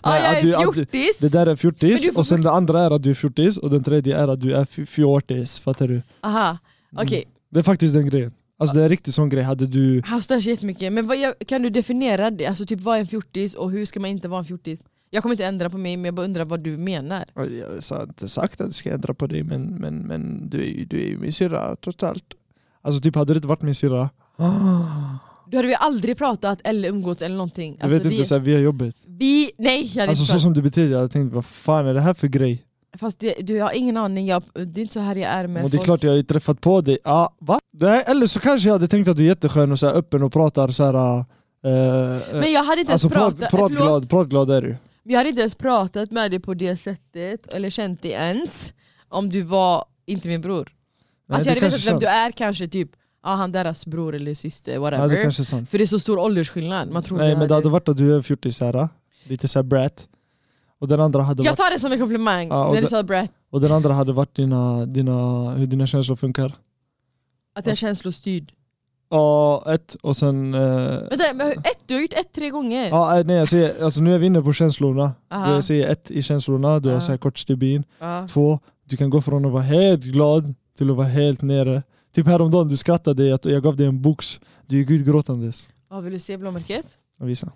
Speaker 1: Ah,
Speaker 2: Nej,
Speaker 1: jag
Speaker 2: att du-
Speaker 1: är
Speaker 2: att du-
Speaker 1: fjortis.
Speaker 2: Det där är
Speaker 1: Men
Speaker 2: fjortis
Speaker 1: du får
Speaker 2: och sen det andra är att du är fjortis och den tredje är att du är fj- fjortis, fattar du?
Speaker 1: Aha, okej.
Speaker 2: Det är faktiskt den grejen. Alltså det är en riktig sån grej, hade du...
Speaker 1: Han stör sig jättemycket. Men vad, jag- kan du definiera det? Alltså typ vad är en fjortis och hur ska man inte vara en fjortis? Jag kommer inte ändra på mig men jag bara undrar vad du menar.
Speaker 2: Jag har inte sagt att du ska ändra på dig men, men, men du är ju du är ju min syrra trots allt. Alltså typ hade det inte varit min syrra,
Speaker 1: Du hade vi aldrig pratat eller umgått eller någonting. Alltså,
Speaker 2: jag vet
Speaker 1: det,
Speaker 2: inte, så här, vi har jobbet.
Speaker 1: vi, nej jag hade
Speaker 2: Alltså
Speaker 1: inte
Speaker 2: så
Speaker 1: pratat.
Speaker 2: som du beter dig, jag tänkte vad fan är det här för grej?
Speaker 1: Fast det, du jag har ingen aning, jag, det är inte så här jag är med
Speaker 2: och det är
Speaker 1: folk.
Speaker 2: klart jag har ju träffat på dig, ja va? Nej, eller så kanske jag hade tänkt att du är jätteskön och så här, öppen och pratar så här. eh, eh,
Speaker 1: men jag hade inte ens
Speaker 2: alltså prat,
Speaker 1: pratat, förlåt, Alltså,
Speaker 2: pratglad, pratglad är du.
Speaker 1: jag hade inte ens pratat med dig på det sättet, eller känt dig ens, om du var inte min bror.
Speaker 2: Nej,
Speaker 1: alltså
Speaker 2: det
Speaker 1: jag hade vetat
Speaker 2: kanske är
Speaker 1: vem
Speaker 2: sant.
Speaker 1: du är kanske, typ ah, han deras bror eller syster,
Speaker 2: Ja,
Speaker 1: whatever.
Speaker 2: det kanske är sant.
Speaker 1: För det är så stor åldersskillnad. Man tror
Speaker 2: Nej
Speaker 1: det
Speaker 2: men
Speaker 1: hade-
Speaker 2: det hade varit att du är en fjortis så här, lite såhär brat. Och den andra hade
Speaker 1: Jag
Speaker 2: varit,
Speaker 1: tar det som en komplimang
Speaker 2: Ja, och
Speaker 1: när du
Speaker 2: det-
Speaker 1: sa brat,
Speaker 2: och den andra hade varit dina, dina, hur dina känslor funkar.
Speaker 1: att
Speaker 2: Alltså-
Speaker 1: jag är känslostyrd.
Speaker 2: Ja, ett och sen... eh,
Speaker 1: Vänta, men hur- ett, du har gjort ett tre gånger.
Speaker 2: Ja, eh, nej jag säger, alltså nu är vi inne på känslorna.
Speaker 1: Aha.
Speaker 2: Jag säger ett i känslorna, du har
Speaker 1: Ja.
Speaker 2: såhär kort stubin.
Speaker 1: Ja.
Speaker 2: Två, Du kan gå från att vara helt glad till att vara helt nere. Typ häromdagen, du skrattade, jag, jag gav dig en box. Du gick ut gråtandes.
Speaker 1: Ja, vill du se blåmärket?
Speaker 2: Jag visar.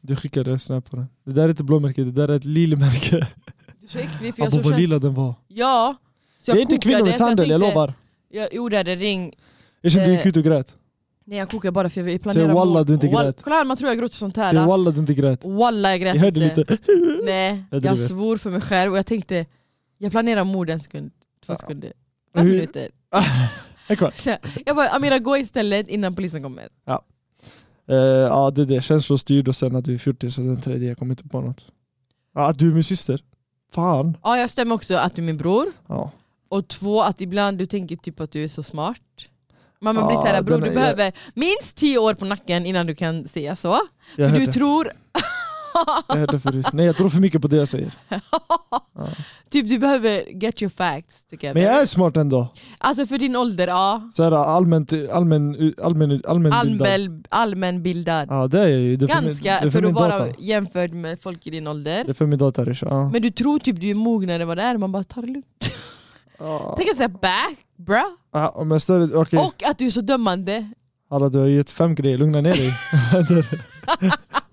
Speaker 2: Du skickade en snap på den. Det där är inte blåmärke, det där är ett lillemärke.
Speaker 1: Du är så äcklig för jag
Speaker 2: Abba
Speaker 1: så
Speaker 2: vad
Speaker 1: känner...
Speaker 2: lila den var.
Speaker 1: Ja! Så
Speaker 2: Det
Speaker 1: jag
Speaker 2: är inte
Speaker 1: kokade, så
Speaker 2: kvinnomisshandel, jag
Speaker 1: tänkte-
Speaker 2: lovar.
Speaker 1: Jag, jo det är det, ring.
Speaker 2: Jag kände du
Speaker 1: Eh,
Speaker 2: gick ut och grät.
Speaker 1: Nej jag kokar bara för jag planerar
Speaker 2: Säg wallah,
Speaker 1: mord.
Speaker 2: du inte
Speaker 1: Wall-
Speaker 2: grät.
Speaker 1: Kolla här, man tror jag gråter sånt
Speaker 2: Det är
Speaker 1: här.
Speaker 2: walla du inte grät.
Speaker 1: Walla Oh, jag grät
Speaker 2: Jag hörde
Speaker 1: inte.
Speaker 2: lite.
Speaker 1: Nej,
Speaker 2: Jag
Speaker 1: jag,
Speaker 2: driver.
Speaker 1: svor för mig själv och jag tänkte jag planerar mord en sekund, två
Speaker 2: Ja.
Speaker 1: sekunder, fem
Speaker 2: Hur-
Speaker 1: minuter.
Speaker 2: En kvart.
Speaker 1: Så jag bara Amira gå istället innan polisen kommer.
Speaker 2: Eh, ja det är det, känslostyrd och sen att du är 40 så den tredje, jag kommer inte på något. Ja, att du är min syster. Fan.
Speaker 1: Ja jag stämmer också att du är min bror.
Speaker 2: Ja.
Speaker 1: Och två, att ibland du tänker typ att du är så smart. Mamma
Speaker 2: Ja,
Speaker 1: blir såhär, bror
Speaker 2: den
Speaker 1: du
Speaker 2: är-
Speaker 1: behöver minst tio år på nacken innan du kan säga så.
Speaker 2: Jag
Speaker 1: för
Speaker 2: hörde,
Speaker 1: du tror,
Speaker 2: jag hörde förut. Nej jag tror för mycket på det jag säger.
Speaker 1: typ du behöver get your facts together.
Speaker 2: Men jag är smart ändå.
Speaker 1: Alltså för din ålder, ja.
Speaker 2: Så här, allmänt, allmän, allmän, allmän
Speaker 1: Allmän, allmänbildad.
Speaker 2: Ja det är jag ju. Det är för min,
Speaker 1: Ganska,
Speaker 2: det är för
Speaker 1: för
Speaker 2: min
Speaker 1: att
Speaker 2: data.
Speaker 1: vara jämförd med folk i din ålder.
Speaker 2: Det är för min data Risha. Ja.
Speaker 1: Men du tror typ du är mognare än vad det är, man bara tar det lugnt.
Speaker 2: Ja.
Speaker 1: Take a step back, bra.
Speaker 2: Ja, men större, okej.
Speaker 1: Och att du är så dömande.
Speaker 2: Alla du har gett fem grejer, lugna ner dig. Vad händer?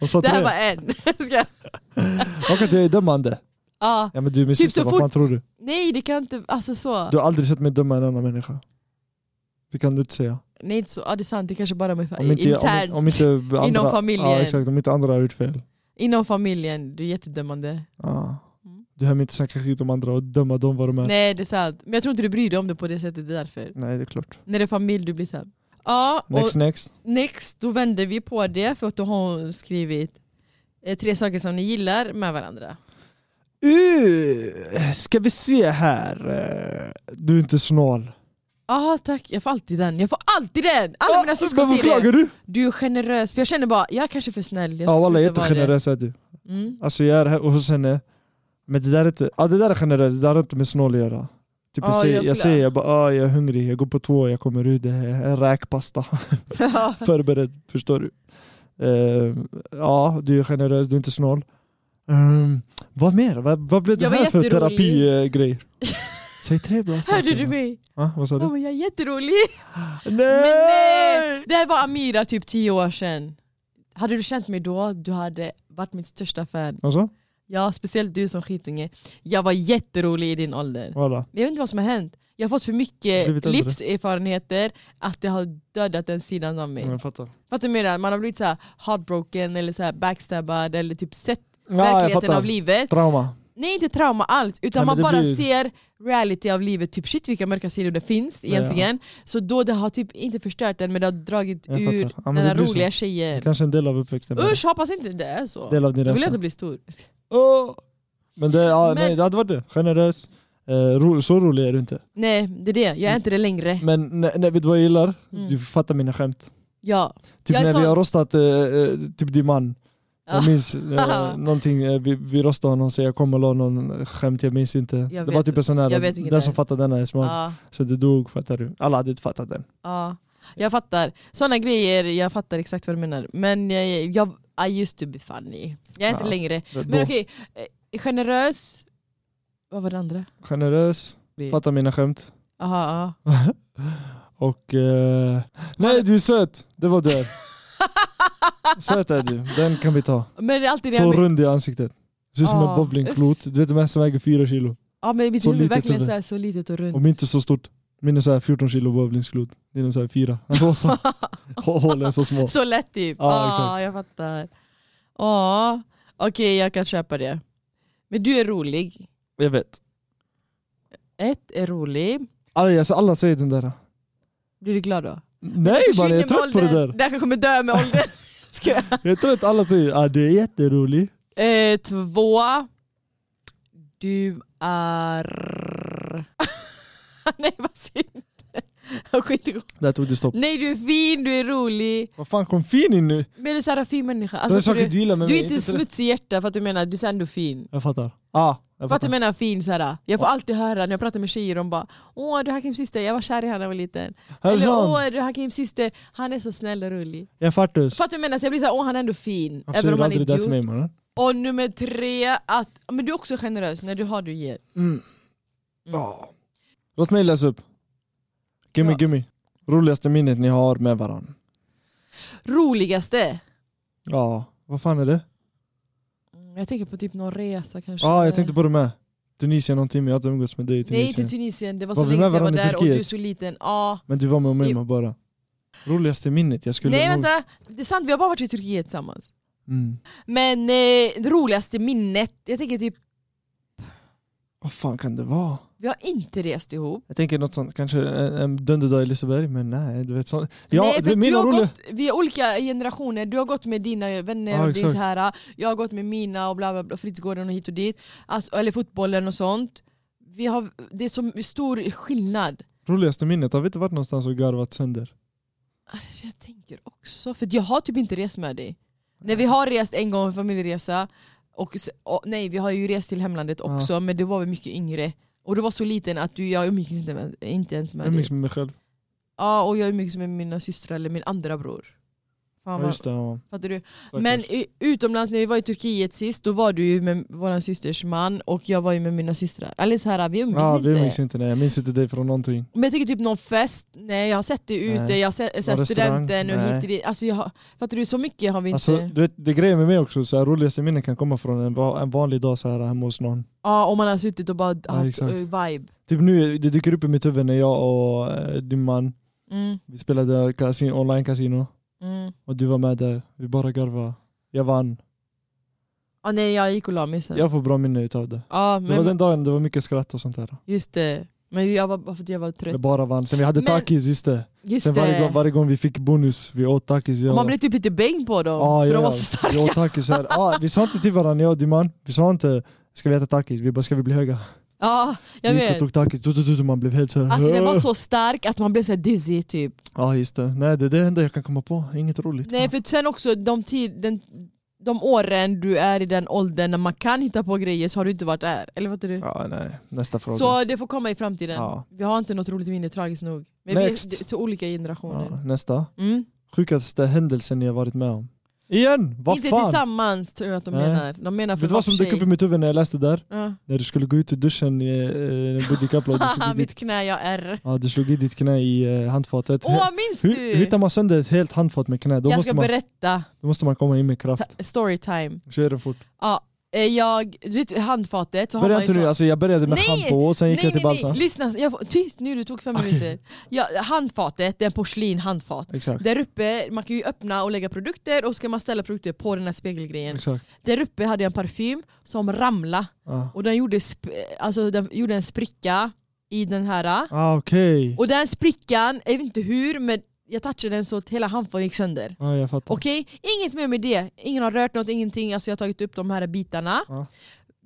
Speaker 2: Och så
Speaker 1: Det här
Speaker 2: tre.
Speaker 1: var en. Ska jag-
Speaker 2: Och att jag är dömande.
Speaker 1: ja.
Speaker 2: Ja men du är min
Speaker 1: Typ
Speaker 2: syster,
Speaker 1: så
Speaker 2: vad
Speaker 1: fort-
Speaker 2: fan tror du?
Speaker 1: Nej det kan inte, alltså så.
Speaker 2: Du har aldrig sett mig döma en annan människa. Det kan du inte säga.
Speaker 1: Nej inte så, ja, det är sant, det kanske bara är
Speaker 2: Om inte, om,
Speaker 1: Äh, internt.
Speaker 2: inte- om inte andra,
Speaker 1: familjen.
Speaker 2: Ja, exakt, om inte andra har gjort fel.
Speaker 1: Inom familjen, du är jättedömande.
Speaker 2: Ja.
Speaker 1: Mm.
Speaker 2: Du hör mig inte snacka skit om andra och döma dem vad de är.
Speaker 1: Nej det är sant, men jag tror inte du bryr dig om det på det sättet, det är därför.
Speaker 2: Nej, det är klart.
Speaker 1: När det är familj du blir såhär. Ja, och
Speaker 2: Next, next.
Speaker 1: Next, då vänder vi på det för att då har hon skrivit eh, tre saker som ni gillar med varandra.
Speaker 2: Uh, ska vi se här. Eh, Du är inte snål.
Speaker 1: Ja tack, jag får alltid den. Jag får alltid den! Alla mina
Speaker 2: Ah,
Speaker 1: syskon
Speaker 2: varför
Speaker 1: säger det.
Speaker 2: klagar du?
Speaker 1: Du är generös, för jag känner bara, jag är kanske är för snäll. Jag
Speaker 2: Ja
Speaker 1: ska
Speaker 2: walla,
Speaker 1: sluta vara
Speaker 2: jättegenerös är du.
Speaker 1: det. Mm.
Speaker 2: Alltså jag är här hos henne. Men det där är inte, ja det där är generöst, det där har inte med snål att göra. Typ jag,
Speaker 1: Ja,
Speaker 2: säger,
Speaker 1: jag
Speaker 2: jag,
Speaker 1: skulle-
Speaker 2: säger, jag bara ah, jag är hungrig, jag går på två, jag kommer ut, det är en räkpasta. Förberedd, förstår du? Eh, ja, du är generös, du är inte snål. Ehm, vad mer? Vad, vad blev det
Speaker 1: Jag var
Speaker 2: här för
Speaker 1: jätterolig.
Speaker 2: terapigrej? Säg tre bra saker.
Speaker 1: Hörde du mig?
Speaker 2: Ja, vad sa
Speaker 1: Ja,
Speaker 2: du?
Speaker 1: men jag är jätterolig! Men nej!
Speaker 2: Nej!
Speaker 1: Det här var Amira typ tio år sedan. Hade du känt mig då, du hade varit mitt största fan.
Speaker 2: Alltså,
Speaker 1: Ja, speciellt du som skitunge. Jag var jätterolig i din ålder.
Speaker 2: voilà.
Speaker 1: Jag vet inte vad som har hänt. Jag har fått för
Speaker 2: Blivit
Speaker 1: mycket
Speaker 2: äldre.
Speaker 1: livserfarenheter att det har dödat den sidan av mig.
Speaker 2: Ja, Jag fattar.
Speaker 1: Fattar du vad jag menar? Man har blivit så här heartbroken eller så här backstabbad eller typ sett
Speaker 2: Ja, jag
Speaker 1: verkligheten av
Speaker 2: fattar.
Speaker 1: livet.
Speaker 2: Trauma.
Speaker 1: Nej inte trauma alls, utan
Speaker 2: Nej, men
Speaker 1: man
Speaker 2: det
Speaker 1: bara
Speaker 2: blir-
Speaker 1: ser reality av livet, typ shit vilka mörka sidor det finns egentligen. Så då det har typ inte förstört den men det har dragit
Speaker 2: Jag
Speaker 1: ur
Speaker 2: fattar. Ja, men
Speaker 1: den
Speaker 2: det
Speaker 1: här
Speaker 2: blir så.
Speaker 1: roliga
Speaker 2: Det är
Speaker 1: tjejen.
Speaker 2: kanske en del av uppväxten. bara.
Speaker 1: Usch hoppas inte det är så.
Speaker 2: Del av din
Speaker 1: Då vill jag
Speaker 2: resa.
Speaker 1: inte bli stor.
Speaker 2: Åh! Men, det, ja,
Speaker 1: Men-
Speaker 2: Nej, det hade varit det. Generös. Eh, ro, så rolig är du inte.
Speaker 1: Nej det är det, jag är inte det längre.
Speaker 2: Men nej, nej, vet du vad jag gillar?
Speaker 1: Mm.
Speaker 2: Du fattar mina skämt.
Speaker 1: Ja.
Speaker 2: Typ
Speaker 1: Jag är
Speaker 2: när vi
Speaker 1: sån.
Speaker 2: har rostat eh, eh, typ din man.
Speaker 1: Ah.
Speaker 2: Jag minns eh, någonting, eh, vi, vi rostade honom så jag kommer la någon skämt, jag minns inte. det
Speaker 1: vet-
Speaker 2: var typ en sån här,
Speaker 1: jag vet vilken det är.
Speaker 2: den som fattar denna är smart.
Speaker 1: ja.
Speaker 2: Så du dog, fattar du? Alla hade inte fattat den.
Speaker 1: Ja, jag fattar. Sådana grejer, jag fattar exakt vad du menar. Men jag, jag I used to be funny. Jag är inte
Speaker 2: Ja,
Speaker 1: längre. Men
Speaker 2: Då,
Speaker 1: okej, eh, generös. Vad var det andra?
Speaker 2: Generös, fattar mina skämt.
Speaker 1: Aha, aha.
Speaker 2: Och... Eh, nej du är söt! Det var du är. Söt är du, den kan vi ta.
Speaker 1: Men det är alltid det
Speaker 2: Så
Speaker 1: här med,
Speaker 2: rund i ansiktet. Ser ut som
Speaker 1: Ah.
Speaker 2: en bowlingklot. Du vet de här som väger 4 kilo.
Speaker 1: ja, men mitt
Speaker 2: så
Speaker 1: huvud är
Speaker 2: litet
Speaker 1: verkligen
Speaker 2: huvud.
Speaker 1: så, här, så litet och runt.
Speaker 2: Om inte så stort. Min är så här 14 kilo bowlingklot. Din är så här 4. Rosa. Hålen är så små.
Speaker 1: Så lätt typ.
Speaker 2: Ja,
Speaker 1: Ja,
Speaker 2: exakt.
Speaker 1: jag fattar. Ja, okej jag kan köpa det. Men du är rolig.
Speaker 2: Jag vet.
Speaker 1: Ett är rolig.
Speaker 2: Alla, alltså, alla säger den där.
Speaker 1: Blir du glad då?
Speaker 2: Nej man, jag är trött på det där.
Speaker 1: Det här kommer dö med åldern. Ska jag?
Speaker 2: Jag är trött, alla säger ah, du är jätterolig.
Speaker 1: Eh, två. Du är... Nej vad synd. Jag skiter i-
Speaker 2: Där tog det stopp.
Speaker 1: Nej du är fin, du är rolig.
Speaker 2: Vad fan kom fin in nu?
Speaker 1: Men det är så här fin människa.
Speaker 2: det är
Speaker 1: Alltså,
Speaker 2: saker
Speaker 1: du,
Speaker 2: du gillar med
Speaker 1: du är
Speaker 2: mig.
Speaker 1: inte en
Speaker 2: trött.
Speaker 1: smutsig hjärta för att du menar, du är ändå fin.
Speaker 2: Jag fattar. Ah, jag
Speaker 1: För att du
Speaker 2: fattar.
Speaker 1: menar fin så här. Jag får alltid höra när jag pratar med tjejer, de bara Åh du är Hakims syster, jag var kär i honom när jag var liten. Eller
Speaker 2: Hörsan,
Speaker 1: åh du är Hakims syster, han är så snäll och rolig.
Speaker 2: jag fattas.
Speaker 1: För att du menar, så jag blir såhär, åh han är ändå fin.
Speaker 2: Varför
Speaker 1: även
Speaker 2: säger
Speaker 1: om
Speaker 2: du
Speaker 1: han är
Speaker 2: aldrig det till
Speaker 1: idiot.
Speaker 2: mig mannen?
Speaker 1: Och nummer tre, att, men du är också generös, när du har du ger.
Speaker 2: Mm. Ja. Låt mig läsa upp. Gimme,
Speaker 1: Ja.
Speaker 2: gimme. Roligaste minnet ni har med varann.
Speaker 1: Roligaste?
Speaker 2: Ja, vad fan är det?
Speaker 1: Mm, Jag tänker på typ någon resa kanske.
Speaker 2: Ja, jag tänkte på det med. Tunisien någonting, men jag har inte umgåtts med dig i
Speaker 1: Eh. Nej,
Speaker 2: Tunisien.
Speaker 1: inte Tunisien. Det var,
Speaker 2: Var
Speaker 1: så
Speaker 2: vi
Speaker 1: länge
Speaker 2: med
Speaker 1: sedan jag var
Speaker 2: varandra i
Speaker 1: där och du är
Speaker 2: Turkiet?
Speaker 1: så liten. Ja.
Speaker 2: men du var med mig
Speaker 1: Jo.
Speaker 2: med bara. Roligaste minnet, jag skulle
Speaker 1: Nej
Speaker 2: nog...
Speaker 1: vänta, det är sant vi har bara varit i Turkiet tillsammans.
Speaker 2: Mm.
Speaker 1: Men eh, det roligaste minnet, jag tänker typ,
Speaker 2: Vad fan kan det vara?
Speaker 1: vi har inte rest ihop.
Speaker 2: Jag tänker något sånt, kanske en, en dunderdag i Liseberg, men nej, du vet sånt. Ja,
Speaker 1: Nej,
Speaker 2: det
Speaker 1: för att
Speaker 2: är
Speaker 1: du
Speaker 2: mina
Speaker 1: har
Speaker 2: roliga...
Speaker 1: gått, vi är olika generationer, du har gått med dina vänner
Speaker 2: Ja,
Speaker 1: och det är
Speaker 2: exakt.
Speaker 1: så här. ah, jag har gått med mina och bla bla bla, fritidsgården och hit och dit. Alltså, eller fotbollen och sånt. Vi har, det är så stor skillnad.
Speaker 2: Roligaste minnet, har vi inte varit någonstans och garvat sönder?
Speaker 1: Alltså, Jag tänker också, för att jag har typ inte rest med dig. När vi har rest en gång, en familjeresa, och, s- och, nej vi har ju rest till hemlandet
Speaker 2: Ja.
Speaker 1: också men det var väl mycket yngre. Och du var så liten att du, jag umgicks inte, med, inte ens med
Speaker 2: Jag
Speaker 1: dig.
Speaker 2: minns med mig själv.
Speaker 1: Ja, och jag umgicks med mina systrar eller min andra bror. Fan,
Speaker 2: Ja,
Speaker 1: vad-
Speaker 2: just det, ja.
Speaker 1: fattar du?
Speaker 2: Stackars.
Speaker 1: Men i, utomlands när vi var i Turkiet sist, då var du ju med vår systers man och jag var ju med mina systrar. Eller så här, vi umgicks
Speaker 2: Ja,
Speaker 1: inte.
Speaker 2: vi minns inte, nej. Jag minns inte dig från någonting.
Speaker 1: Men jag tänker typ någon fest, nej jag har sett dig ute,
Speaker 2: Nej.
Speaker 1: jag har sett så här,
Speaker 2: Någon restaurang?
Speaker 1: studenten och
Speaker 2: Nej.
Speaker 1: hit och dit. Alltså, jag, har- fattar du, så mycket har vi inte.
Speaker 2: Alltså, du vet, det grejen med mig också, så här, roligaste minnen kan komma från en, va- en vanlig dag så här hemma hos någon.
Speaker 1: Ja, om man har suttit och bara haft
Speaker 2: exakt.
Speaker 1: eh, vibe.
Speaker 2: Typ nu, det dyker upp i mitt huvud när jag och eh, din man,
Speaker 1: Mm,
Speaker 2: vi spelade kasin, online casino
Speaker 1: mm.
Speaker 2: och du var med där. Vi bara garvade. Jag vann.
Speaker 1: Ah, nej, jag gick och la mig sen. Ja,
Speaker 2: Jag får bra minne utav det. Det var
Speaker 1: men,
Speaker 2: den dagen det var mycket skratt och sånt där.
Speaker 1: just det. Men jag var bara för att jag var
Speaker 2: Jag
Speaker 1: trött.
Speaker 2: bara vann. Sen vi hade
Speaker 1: Men-
Speaker 2: takis, just det.
Speaker 1: Just
Speaker 2: Sen varje gång,
Speaker 1: det.
Speaker 2: varje gång vi fick bonus, vi åt takis. Jag Ah,
Speaker 1: Och man blev typ lite bäng på dem,
Speaker 2: Ja,
Speaker 1: för
Speaker 2: ja,
Speaker 1: de var
Speaker 2: ja.
Speaker 1: så starka.
Speaker 2: Vi åt takis här. Ja, vi sa inte till varandra, jag och din man. Vi sa inte, ska vi äta takis? Vi bara, ska vi bli höga?
Speaker 1: Ja, jag
Speaker 2: vi gick och
Speaker 1: vet.
Speaker 2: tog takis, tu, tu, tu, tu, man blev helt såhär.
Speaker 1: Alltså den var så stark att man blev så här dizzy typ.
Speaker 2: Ja just det, nej det är det enda jag kan komma på, inget roligt.
Speaker 1: Nej för sen också de, tid, den, de åren du är i den åldern när man kan hitta på grejer så har du inte varit där. Eller fattar du?
Speaker 2: Ja nej, nästa fråga.
Speaker 1: så det får komma i framtiden.
Speaker 2: Ja.
Speaker 1: Vi har inte något roligt minne tragiskt nog. Men
Speaker 2: Next.
Speaker 1: vi är så olika generationer.
Speaker 2: Ja, nästa.
Speaker 1: Mm.
Speaker 2: Sjukaste händelsen ni har varit med om. Igen! Vad
Speaker 1: inte
Speaker 2: fan!
Speaker 1: tillsammans tror jag att de
Speaker 2: Nej.
Speaker 1: menar. De menar
Speaker 2: Vet
Speaker 1: för
Speaker 2: du vad som dök upp i mitt huvud när jag läste där?
Speaker 1: Ja.
Speaker 2: När du skulle gå ut ur duschen, eh, eh, när Buddy Kaplan, du slog i
Speaker 1: Mitt
Speaker 2: ditt,
Speaker 1: knä, jag är.
Speaker 2: ja, du slog i ditt knä i eh, handfatet.
Speaker 1: Åh, minns
Speaker 2: hur,
Speaker 1: du?
Speaker 2: hur hittar man sönder ett helt handfat med knä? Då
Speaker 1: jag ska
Speaker 2: måste, man,
Speaker 1: berätta.
Speaker 2: då måste man komma in med kraft.
Speaker 1: Ta- Storytime.
Speaker 2: Kör den fort.
Speaker 1: Ja, eh, jag, du vet handfatet så har
Speaker 2: Börja
Speaker 1: man ju
Speaker 2: inte
Speaker 1: så.
Speaker 2: nu, alltså jag började med
Speaker 1: Nej!
Speaker 2: schampo och sen gick jag till balsam.
Speaker 1: lyssna, jag, får- tyst nu du tog fem
Speaker 2: Okej.
Speaker 1: minuter. Ja, handfatet, det är en porslin handfat.
Speaker 2: Exakt,
Speaker 1: Där uppe, man kan ju öppna och lägga produkter och ska man ställa produkter på den här spegelgrejen.
Speaker 2: exakt.
Speaker 1: Där uppe hade jag en parfym som ramlade
Speaker 2: Ah,
Speaker 1: och den gjorde, sp- alltså, den gjorde en spricka i den här.
Speaker 2: ah okej.
Speaker 1: Och den sprickan, jag vet inte hur, men jag touchade den så att hela handfatet gick sönder.
Speaker 2: Ja, jag fattar.
Speaker 1: Okej, inget mer med det. Ingen har rört något, ingenting. Alltså jag har tagit upp de här bitarna.
Speaker 2: Ja.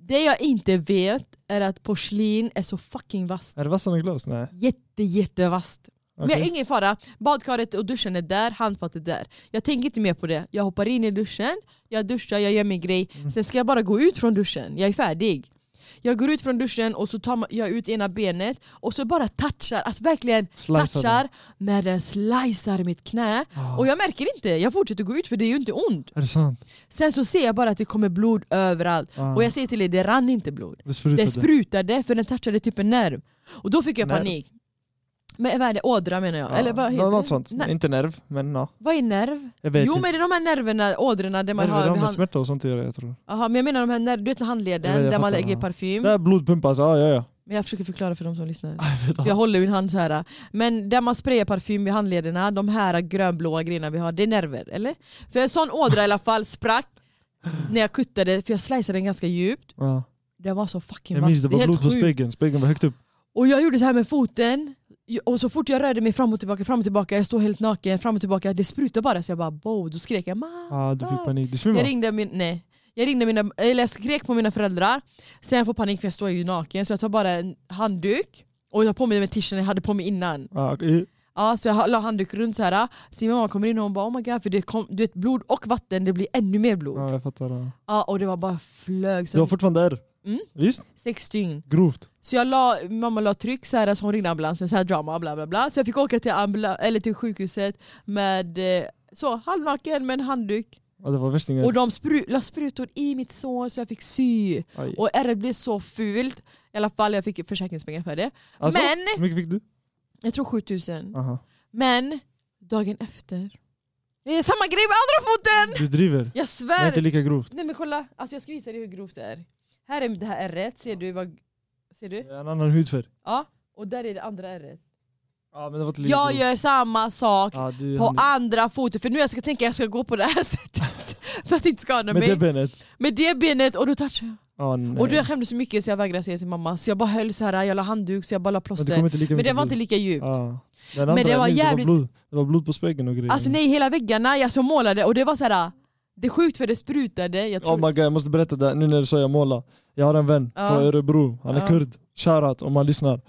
Speaker 1: Det jag inte vet är att porslin är så fucking vasst.
Speaker 2: Är det vassare än glas? Nej.
Speaker 1: Jätte, jättevasst. Men jag
Speaker 2: Okej.
Speaker 1: har ingen fara. Badkaret och duschen är där, handfatet är där. Jag tänker inte mer på det. Jag hoppar in i duschen, jag duschar, jag gör min grej.
Speaker 2: Mm.
Speaker 1: Sen ska jag bara gå ut från duschen. Jag är färdig. Jag går ut från duschen och så tar ma- jag ut ena benet och så bara touchar, alltså verkligen
Speaker 2: Slicear
Speaker 1: touchar med den slicear mitt knä.
Speaker 2: Ah.
Speaker 1: Och jag märker inte, jag fortsätter gå ut för det är ju inte ont.
Speaker 2: Är det sant?
Speaker 1: Sen så ser jag bara att det kommer blod överallt.
Speaker 2: Ah.
Speaker 1: Och jag säger till er, det rann inte blod.
Speaker 2: Det sprutade.
Speaker 1: Det sprutade för den touchade typ en nerv. Och då fick jag
Speaker 2: Nerv.
Speaker 1: panik. Men vad är det? Ådra menar jag.
Speaker 2: Ja.
Speaker 1: Eller vad heter
Speaker 2: Ah. Nå-
Speaker 1: det?
Speaker 2: Något sånt,
Speaker 1: Nej,
Speaker 2: inte nerv men ja.
Speaker 1: vad är nerv?
Speaker 2: Jag vet
Speaker 1: jo
Speaker 2: inte.
Speaker 1: men det är de här nerverna, ådrorna där man
Speaker 2: Nerver har
Speaker 1: har... Mm.
Speaker 2: med
Speaker 1: Hand...
Speaker 2: smärta och sånt att göra jag tror.
Speaker 1: Aha, men jag menar de här nerv, du vet handleden
Speaker 2: Jag vet, jag
Speaker 1: där man
Speaker 2: fattar,
Speaker 1: lägger
Speaker 2: ja.
Speaker 1: parfym.
Speaker 2: Det är blodpumpas, Ah, ja ja ja.
Speaker 1: Men jag försöker förklara för de som lyssnar.
Speaker 2: Jag vet
Speaker 1: Jag håller min hand så här. Men där man sprayar parfym i handlederna, de här grönblåa grejerna vi har, det är nerver eller? För en sån ådra i alla fall sprack när jag kuttade, för jag sliceade den ganska djupt.
Speaker 2: Ja.
Speaker 1: Den var så fucking
Speaker 2: Ah. Jag minns det
Speaker 1: vass. är
Speaker 2: var
Speaker 1: helt
Speaker 2: blod på
Speaker 1: sjukt.
Speaker 2: spegeln, spegeln var högt upp.
Speaker 1: Och jag gjorde så här med foten, och så fort jag rörde mig fram och tillbaka, fram och tillbaka, jag stod helt naken, fram och tillbaka, det sprutade bara så jag bara bow, då skrek jag mamma.
Speaker 2: Ja, Ah, du fick panik. Du
Speaker 1: Ah. Jag
Speaker 2: svimmade?
Speaker 1: ringde, min, nej. jag ringde mina, eller jag skrek på mina föräldrar, sen jag får panik för jag står ju naken så jag tar bara en handduk och jag har på mig den t-shirten jag hade på mig innan.
Speaker 2: Ja, Ah, okej.
Speaker 1: Ja, så jag ha- la handduk runt så här. så min mamma kommer in och hon bara oh my god för det kom, du vet, blod och vatten det blir ännu mer blod. Ja.
Speaker 2: ja Ah, jag fattar. Ja.
Speaker 1: och det var bara flög,
Speaker 2: Du har
Speaker 1: så
Speaker 2: fortfarande ärr?
Speaker 1: Mm.
Speaker 2: Visst?
Speaker 1: sex dygn.
Speaker 2: Grovt.
Speaker 1: Så jag la, mamma la tryck så här så hon ringde ambulansen, så här drama bla bla bla. Så jag fick åka till, ambula- eller till sjukhuset med eh, så halvnaken med en handduk.
Speaker 2: Ja, Ah, det var
Speaker 1: Och
Speaker 2: värstingar.
Speaker 1: de spru- la sprutor i mitt sår så jag fick sy.
Speaker 2: Aj.
Speaker 1: Och ärret blev så fult. I alla fall, jag fick försäkringspengar för det.
Speaker 2: Alltså,
Speaker 1: Men
Speaker 2: Hur mycket fick du?
Speaker 1: jag tror 7000.
Speaker 2: Aha.
Speaker 1: Men dagen efter, det är samma grej med andra foten!
Speaker 2: Du driver.
Speaker 1: Jag
Speaker 2: Det är
Speaker 1: svär!
Speaker 2: inte lika grovt.
Speaker 1: Nej men kolla, alltså jag ska visa dig hur grovt det är. Här är det här ärret, ser du? Vad... Ser
Speaker 2: Det
Speaker 1: du?
Speaker 2: är En annan hudfärg.
Speaker 1: Ja, och där är det andra ärret.
Speaker 2: Ja, men det var inte lika
Speaker 1: Jag
Speaker 2: grovt.
Speaker 1: gör samma sak
Speaker 2: Ja, du,
Speaker 1: på andra foten, för nu jag ska tänka att jag ska gå på det här sättet för att inte skada
Speaker 2: Med det
Speaker 1: mig.
Speaker 2: benet.
Speaker 1: Med det benet, och då touchar jag.
Speaker 2: Ja, nej.
Speaker 1: Och då jag skämdes så mycket så jag vägrade säga till mamma, så jag bara höll så här, jag la handduk, så jag bara la
Speaker 2: Men det
Speaker 1: plåster.
Speaker 2: kom inte lika
Speaker 1: Men det
Speaker 2: mycket
Speaker 1: var inte lika djupt.
Speaker 2: Ja. Den
Speaker 1: Men
Speaker 2: andra,
Speaker 1: det
Speaker 2: jag
Speaker 1: var
Speaker 2: minns,
Speaker 1: jävligt-
Speaker 2: Det var, blod. det var blod på spegeln och grejer.
Speaker 1: Alltså nej, hela väggarna, jag så målade och det var så här. det är sjukt för det sprutade. Jag tror...
Speaker 2: Oh my god, jag måste berätta det här nu när du sa jag måla. Jag har en vän
Speaker 1: Ja.
Speaker 2: från Örebro, han är
Speaker 1: Ja.
Speaker 2: kurd. Shoutout om han lyssnar.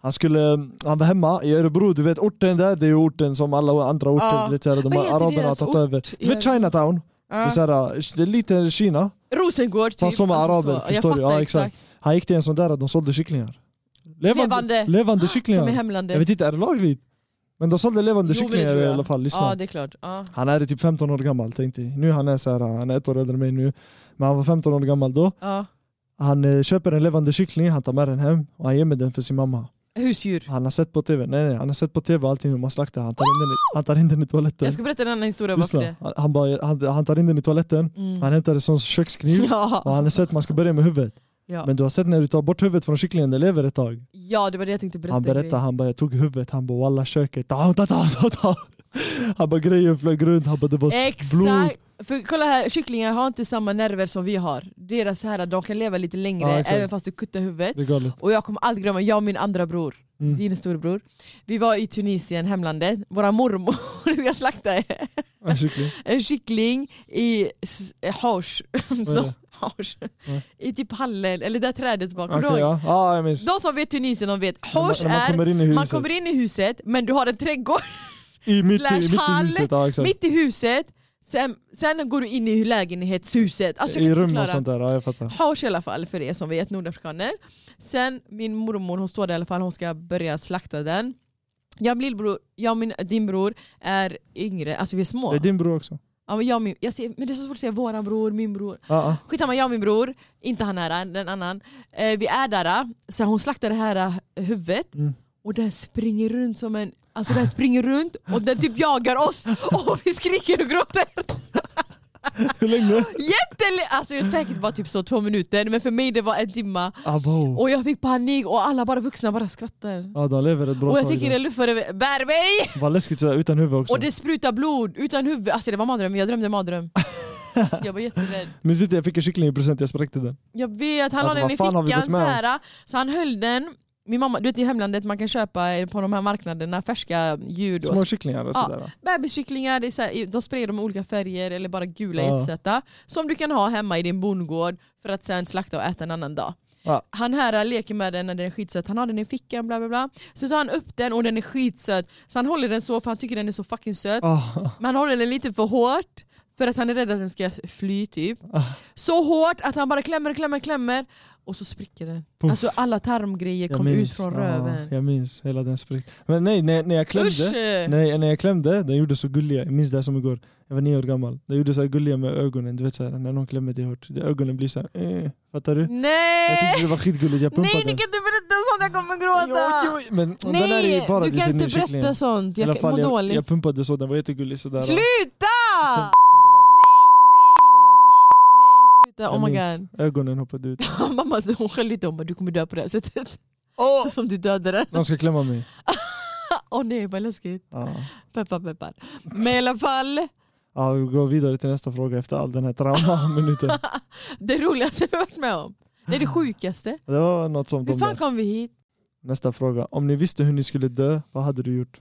Speaker 2: Han, skulle, han var hemma i Örebro, du vet orten där, det är ju orten som alla andra orter,
Speaker 1: Ja.
Speaker 2: du vet, så här, de
Speaker 1: Vad
Speaker 2: här
Speaker 1: heter
Speaker 2: araberna har
Speaker 1: deras
Speaker 2: tagit
Speaker 1: ort?
Speaker 2: över. Du vet
Speaker 1: Ja.
Speaker 2: Chinatown, det, är
Speaker 1: Ja.
Speaker 2: så här, det är lite Kina.
Speaker 1: Rosengård typ.
Speaker 2: Fast som araber,
Speaker 1: så. Jag
Speaker 2: förstår du?
Speaker 1: fattar
Speaker 2: Ja, exakt. Han gick till en sån där att de sålde kycklingar. Levande,
Speaker 1: Levande. Ah,
Speaker 2: levande
Speaker 1: Som i
Speaker 2: kycklingar.
Speaker 1: hemlandet.
Speaker 2: Jag vet inte, är det lagligt? Men de sålde levande
Speaker 1: Jo, men det
Speaker 2: kycklingar
Speaker 1: tror
Speaker 2: i
Speaker 1: jag.
Speaker 2: alla fall, lyssna.
Speaker 1: ja det är klart. Ja.
Speaker 2: Han är typ 15 år gammal tänkte jag. Nu han är så här, han är ett år äldre än mig nu. Men han var 15 år gammal då.
Speaker 1: Ja.
Speaker 2: Han eh, köper en levande kyckling, han tar med den hem och han gömmer den för sin mamma.
Speaker 1: Husdjur.
Speaker 2: Han har sett på tv, nej nej, han har sett på tv allting hur man slaktar. Han tar in den i, han tar in den i toaletten.
Speaker 1: Jag ska berätta en annan historia bara för
Speaker 2: Lyssna,
Speaker 1: det.
Speaker 2: han, han, bara, han, han tar in den i toaletten,
Speaker 1: Mm.
Speaker 2: han hämtar en sån kökskniv och
Speaker 1: Ja.
Speaker 2: han har sett man ska börja med huvudet.
Speaker 1: Ja.
Speaker 2: Men du har sett när du tar bort huvudet från kycklingen, det lever ett tag.
Speaker 1: ja, det var det jag tänkte berätta.
Speaker 2: Han berättar, han bara jag tog huvudet, han bara walla köket, ta, ta, ta, ta, ta. Han bara grejen flög runt, han bara det var
Speaker 1: Exakt!
Speaker 2: blod.
Speaker 1: För kolla här, kycklingar har inte samma nerver som vi har. Deras här, de kan leva lite längre
Speaker 2: Ja, exakt.
Speaker 1: även fast du kuttar huvudet.
Speaker 2: Det är galet.
Speaker 1: Och jag kommer aldrig glömma, jag och min andra bror,
Speaker 2: Mm.
Speaker 1: din storebror, vi var i Tunisien, hemlandet, våra mormor ska slakta
Speaker 2: En kyckling.
Speaker 1: en kyckling i s- eh, hars,
Speaker 2: Vad är det?
Speaker 1: hars.
Speaker 2: Ja.
Speaker 1: i typ hallen, eller där trädet bakom.
Speaker 2: Okej,
Speaker 1: Okay,
Speaker 2: ja. ja, jag minns.
Speaker 1: De som vet Tunisien de vet,
Speaker 2: När man,
Speaker 1: hors
Speaker 2: när man
Speaker 1: är
Speaker 2: kommer in i huset.
Speaker 1: Man kommer in i huset, men du har en trädgård
Speaker 2: I mitt,
Speaker 1: slash
Speaker 2: i, mitt i
Speaker 1: hall,
Speaker 2: huset, ja, exakt.
Speaker 1: mitt i huset, sen, sen går du in i lägenhetshuset. Alltså, jag
Speaker 2: I
Speaker 1: kan
Speaker 2: rum
Speaker 1: inte
Speaker 2: och sånt
Speaker 1: förklara.
Speaker 2: där, ja, jag fattar.
Speaker 1: Hars i alla fall, för er som vet, nordafrikaner. Sen min mormor, hon står där i alla fall, hon ska börja slakta den. Jag och min lillbror, jag och min, din bror är yngre, alltså vi är små.
Speaker 2: Det är din bror också.
Speaker 1: Ja, men, jag, och min, jag ser, men det är så svårt att säga våran bror, min bror.
Speaker 2: Ja, ja.
Speaker 1: Skitsamma, jag och min bror, inte han här, den annan. Eh, vi är där, så hon slaktar det här eh, huvudet
Speaker 2: Mm.
Speaker 1: och den springer runt som en... Alltså den springer runt och den typ jagar oss och vi skriker och gråter.
Speaker 2: Hur länge?
Speaker 1: Jättelä- alltså jag säkert bara typ så två minuter men för mig det var en timma
Speaker 2: Abo.
Speaker 1: och jag fick panik och alla bara vuxna bara skrattar.
Speaker 2: Ja, de lever ett bra
Speaker 1: Och jag
Speaker 2: tag
Speaker 1: tänker
Speaker 2: där.
Speaker 1: det luffare bär mig!
Speaker 2: Vad läskigt sådär, utan huvud också.
Speaker 1: Och det sprutar blod utan huvud. Alltså det var mardröm, jag drömde mardröm. Alltså jag var jätterädd.
Speaker 2: Minns du inte jag fick en kyckling i present, jag spräckte den.
Speaker 1: Jag vet, han
Speaker 2: Alltså,
Speaker 1: la den
Speaker 2: vad
Speaker 1: i
Speaker 2: fan har vi
Speaker 1: fickan
Speaker 2: gått med
Speaker 1: så här. Så han höll den, min mamma, du vet i hemlandet man kan köpa på de här marknaderna färska djur
Speaker 2: Små
Speaker 1: då.
Speaker 2: kycklingar och
Speaker 1: Ja.
Speaker 2: sådär. va?
Speaker 1: Bebiskycklingar, det är så här, de sprider dem i olika färger eller bara gula
Speaker 2: Ja.
Speaker 1: jättesöta. Som du kan ha hemma i din bondgård för att sen slakta och äta en annan dag.
Speaker 2: Ja.
Speaker 1: Han här leker med den när den är skitsöt, han har den i fickan bla bla bla. Så tar han upp den och den är skitsöt. Så han håller den så för han tycker den är så fucking söt.
Speaker 2: Ah.
Speaker 1: Men han håller den lite för hårt för att han är rädd att den ska fly typ. Så hårt att han bara klämmer, klämmer, klämmer och så spricker den.
Speaker 2: Puff.
Speaker 1: Alltså alla tarmgrejer
Speaker 2: Jag
Speaker 1: kom
Speaker 2: minns.
Speaker 1: ut från
Speaker 2: Ja,
Speaker 1: röven.
Speaker 2: jag minns, hela den spräckte. Men nej, när, när jag
Speaker 1: Usch!
Speaker 2: klämde, när, när jag klämde, den gjorde så gulliga, jag minns det här som igår. Jag var nio år gammal. Den gjorde så här gulliga med ögonen, du vet såhär när någon klämmer dig hårt, ögonen blir såhär, eh, fattar du? Jag
Speaker 1: Nej!
Speaker 2: tyckte det var skitgulligt, jag pumpade
Speaker 1: Nej
Speaker 2: den.
Speaker 1: ni kan inte berätta sånt, jag kommer gråta!
Speaker 2: Jo, jo, men Nej, den är
Speaker 1: Nej!
Speaker 2: ju bara
Speaker 1: Du
Speaker 2: till
Speaker 1: kan
Speaker 2: sin
Speaker 1: inte
Speaker 2: nu, kycklingen.
Speaker 1: berätta sånt,
Speaker 2: I alla
Speaker 1: jag
Speaker 2: fall,
Speaker 1: mår
Speaker 2: jag,
Speaker 1: dåligt.
Speaker 2: jag pumpade så, den var jättegullig sådär.
Speaker 1: Sluta!
Speaker 2: Sen-
Speaker 1: Nej,
Speaker 2: sen
Speaker 1: nej, nej, sluta,
Speaker 2: det lät.
Speaker 1: oh my
Speaker 2: Jag
Speaker 1: god.
Speaker 2: minns. Ögonen hoppade ut.
Speaker 1: Mamma hon skällde ut, hon bara du kommer dö på det här sättet.
Speaker 2: Åh!
Speaker 1: Så som du dödade den.
Speaker 2: Någon ska klämma mig.
Speaker 1: Åh nej vad läskigt.
Speaker 2: Ja.
Speaker 1: Peppar peppar. Men i alla fall,
Speaker 2: Ja, vi går vidare till nästa fråga efter all den här traumaminuten.
Speaker 1: det roligaste vi varit med om. Det är det sjukaste.
Speaker 2: Det var något som de
Speaker 1: Hur fan
Speaker 2: där.
Speaker 1: kom vi hit?
Speaker 2: Nästa fråga. Om ni visste hur ni skulle dö, vad hade du gjort?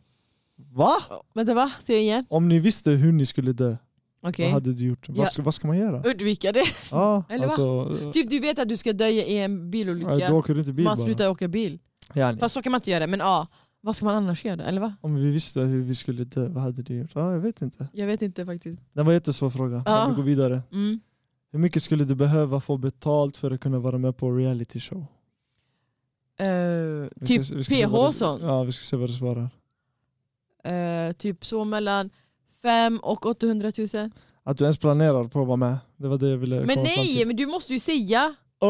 Speaker 2: Va?
Speaker 1: Vänta va? Säg igen.
Speaker 2: Om ni visste hur ni skulle dö,
Speaker 1: Okej.
Speaker 2: vad hade du gjort?
Speaker 1: Ja.
Speaker 2: Vad, ska, vad ska man göra?
Speaker 1: Undvika det.
Speaker 2: Ja,
Speaker 1: Eller va?
Speaker 2: alltså,
Speaker 1: Typ du vet att du ska dö i en bilolycka.
Speaker 2: ja, du åker inte bil
Speaker 1: man
Speaker 2: bara.
Speaker 1: slutar åka bil.
Speaker 2: Yani.
Speaker 1: Fast så kan man inte göra. Men ja, vad ska man annars göra? Eller va?
Speaker 2: Om vi visste hur vi skulle dö, vad hade du gjort? Ja, jag vet inte.
Speaker 1: Jag vet inte faktiskt.
Speaker 2: Den var en jättesvår fråga.
Speaker 1: Ja.
Speaker 2: Men vi går vidare.
Speaker 1: Mm.
Speaker 2: Hur mycket skulle du behöva få betalt för att kunna vara med på reality show?
Speaker 1: Eh,
Speaker 2: Vi
Speaker 1: typ
Speaker 2: ska- vi ska se
Speaker 1: PH
Speaker 2: vad
Speaker 1: och
Speaker 2: du-
Speaker 1: sånt.
Speaker 2: Ja, vi ska se vad du svarar.
Speaker 1: Eh, typ så mellan 5 och 800 000.
Speaker 2: Att du ens planerar på att vara med. Det var det jag ville
Speaker 1: Men
Speaker 2: komma fram
Speaker 1: nej,
Speaker 2: till.
Speaker 1: men du måste ju säga.
Speaker 2: Åh!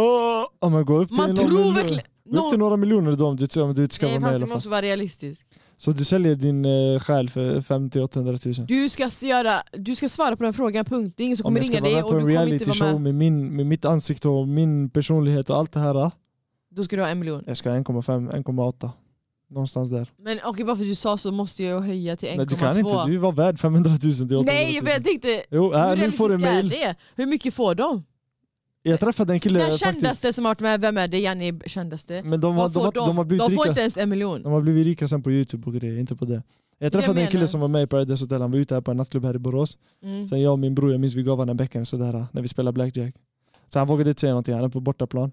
Speaker 2: Ja, men gå upp till
Speaker 1: Man
Speaker 2: några
Speaker 1: tror
Speaker 2: miljoner.
Speaker 1: verkligen...
Speaker 2: Gå upp till
Speaker 1: Nå-
Speaker 2: några miljoner då om du, om du inte ska
Speaker 1: Nej
Speaker 2: vara med
Speaker 1: fast
Speaker 2: i alla
Speaker 1: du
Speaker 2: fall.
Speaker 1: måste vara realistisk.
Speaker 2: Så du säljer din eh, själ för 50-800 000?
Speaker 1: Du ska, s- göra, du ska svara på den frågan punkt, det är ingen som
Speaker 2: Om
Speaker 1: kommer
Speaker 2: jag ska
Speaker 1: ringa
Speaker 2: vara
Speaker 1: dig
Speaker 2: med
Speaker 1: och
Speaker 2: på
Speaker 1: du
Speaker 2: en
Speaker 1: kommer inte
Speaker 2: reality
Speaker 1: vara
Speaker 2: show
Speaker 1: med.
Speaker 2: med, min, med mitt ansikte och min personlighet och allt det här. eh,
Speaker 1: Då ska du ha en miljon.
Speaker 2: Jag ska ha 1,5, 1,8. Någonstans där.
Speaker 1: Men okej bara för att du sa så måste jag höja till 1,2.
Speaker 2: Nej, du kan inte, du var värd 500 000 till 800 000.
Speaker 1: Nej för jag tänkte,
Speaker 2: Jo,
Speaker 1: hur
Speaker 2: här, Äh, nu
Speaker 1: realistiskt
Speaker 2: får du en
Speaker 1: är
Speaker 2: mail.
Speaker 1: det? Hur mycket får de?
Speaker 2: Jag träffade en kille
Speaker 1: Den
Speaker 2: faktiskt.
Speaker 1: kändaste som har varit med, vem är det? Janni kändaste?
Speaker 2: Men de, har-
Speaker 1: Vad
Speaker 2: de,
Speaker 1: får
Speaker 2: har- de har blivit
Speaker 1: de får
Speaker 2: rika.
Speaker 1: inte ens en miljon.
Speaker 2: De har blivit rika sen på youtube och grejer, inte på det. Jag träffade en
Speaker 1: menar.
Speaker 2: kille som var med i Paradise Hotel, han var ute här på en nattklubb här i Borås.
Speaker 1: Mm.
Speaker 2: Sen jag och min bror, jag minns vi gav honom en bäcken sådär eh, när vi spelade blackjack. Så han vågade inte säga någonting, han är på bortaplan.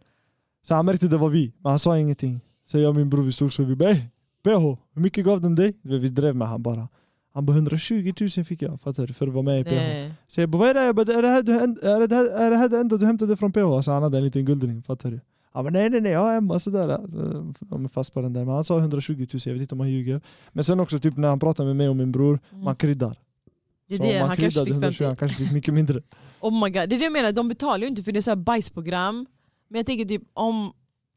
Speaker 2: Så han märkte det var vi, men han sa ingenting. Så jag och min bror vi stod så vi bara "Ey, PH, hur mycket gav den dig? Du vet, Vi drev med han bara. Han bara 120 000 fick jag, fattar du? För att vara med i PH.
Speaker 1: Nej.
Speaker 2: Så jag bara vad är det? Jag bara, är det här, du, häm- är det här, är det här det enda du hämtade från PH? Så han hade en liten guldring, fattar du? Han bara nej nej nej, jag har Emma sådär. Eh, De är fast på den där. Men han sa 120 000, jag vet inte om han ljuger. Men sen också typ när han pratar med mig och min bror,
Speaker 1: Mm.
Speaker 2: man kryddar.
Speaker 1: Det är
Speaker 2: Så
Speaker 1: det,
Speaker 2: om man
Speaker 1: han kanske
Speaker 2: kryddade
Speaker 1: fick 50.
Speaker 2: 120, han kanske fick mycket mindre.
Speaker 1: Oh my god, det är det jag menar, de betalar ju inte för det är så här bajsprogram. Men jag tänker typ om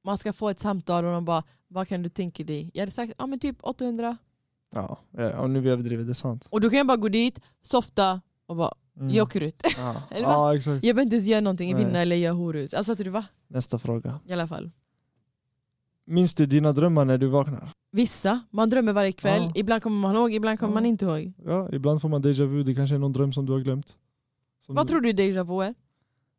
Speaker 1: man ska få ett samtal och de bara vad kan du tänka dig? Jag hade sagt ja men typ 800.
Speaker 2: Ja, ja nu vi överdriver, det är sant.
Speaker 1: Och då kan jag bara gå dit, softa och bara
Speaker 2: Mm.
Speaker 1: jag åker ut.
Speaker 2: Ja.
Speaker 1: Eller va?
Speaker 2: ja, exakt.
Speaker 1: Jag behöver inte ens göra någonting,
Speaker 2: Nej.
Speaker 1: vinna eller göra horut. Alltså fattar du va?
Speaker 2: Nästa fråga.
Speaker 1: I alla fall.
Speaker 2: Minns du dina drömmar när du vaknar?
Speaker 1: Vissa, man drömmer varje kväll.
Speaker 2: Ja.
Speaker 1: Ibland kommer man ihåg, ibland kommer
Speaker 2: Ja.
Speaker 1: man inte ihåg.
Speaker 2: Ja, ibland får man déjà vu, det kanske är någon dröm som du har glömt. Som
Speaker 1: Vad
Speaker 2: du,
Speaker 1: tror du déjà vu är?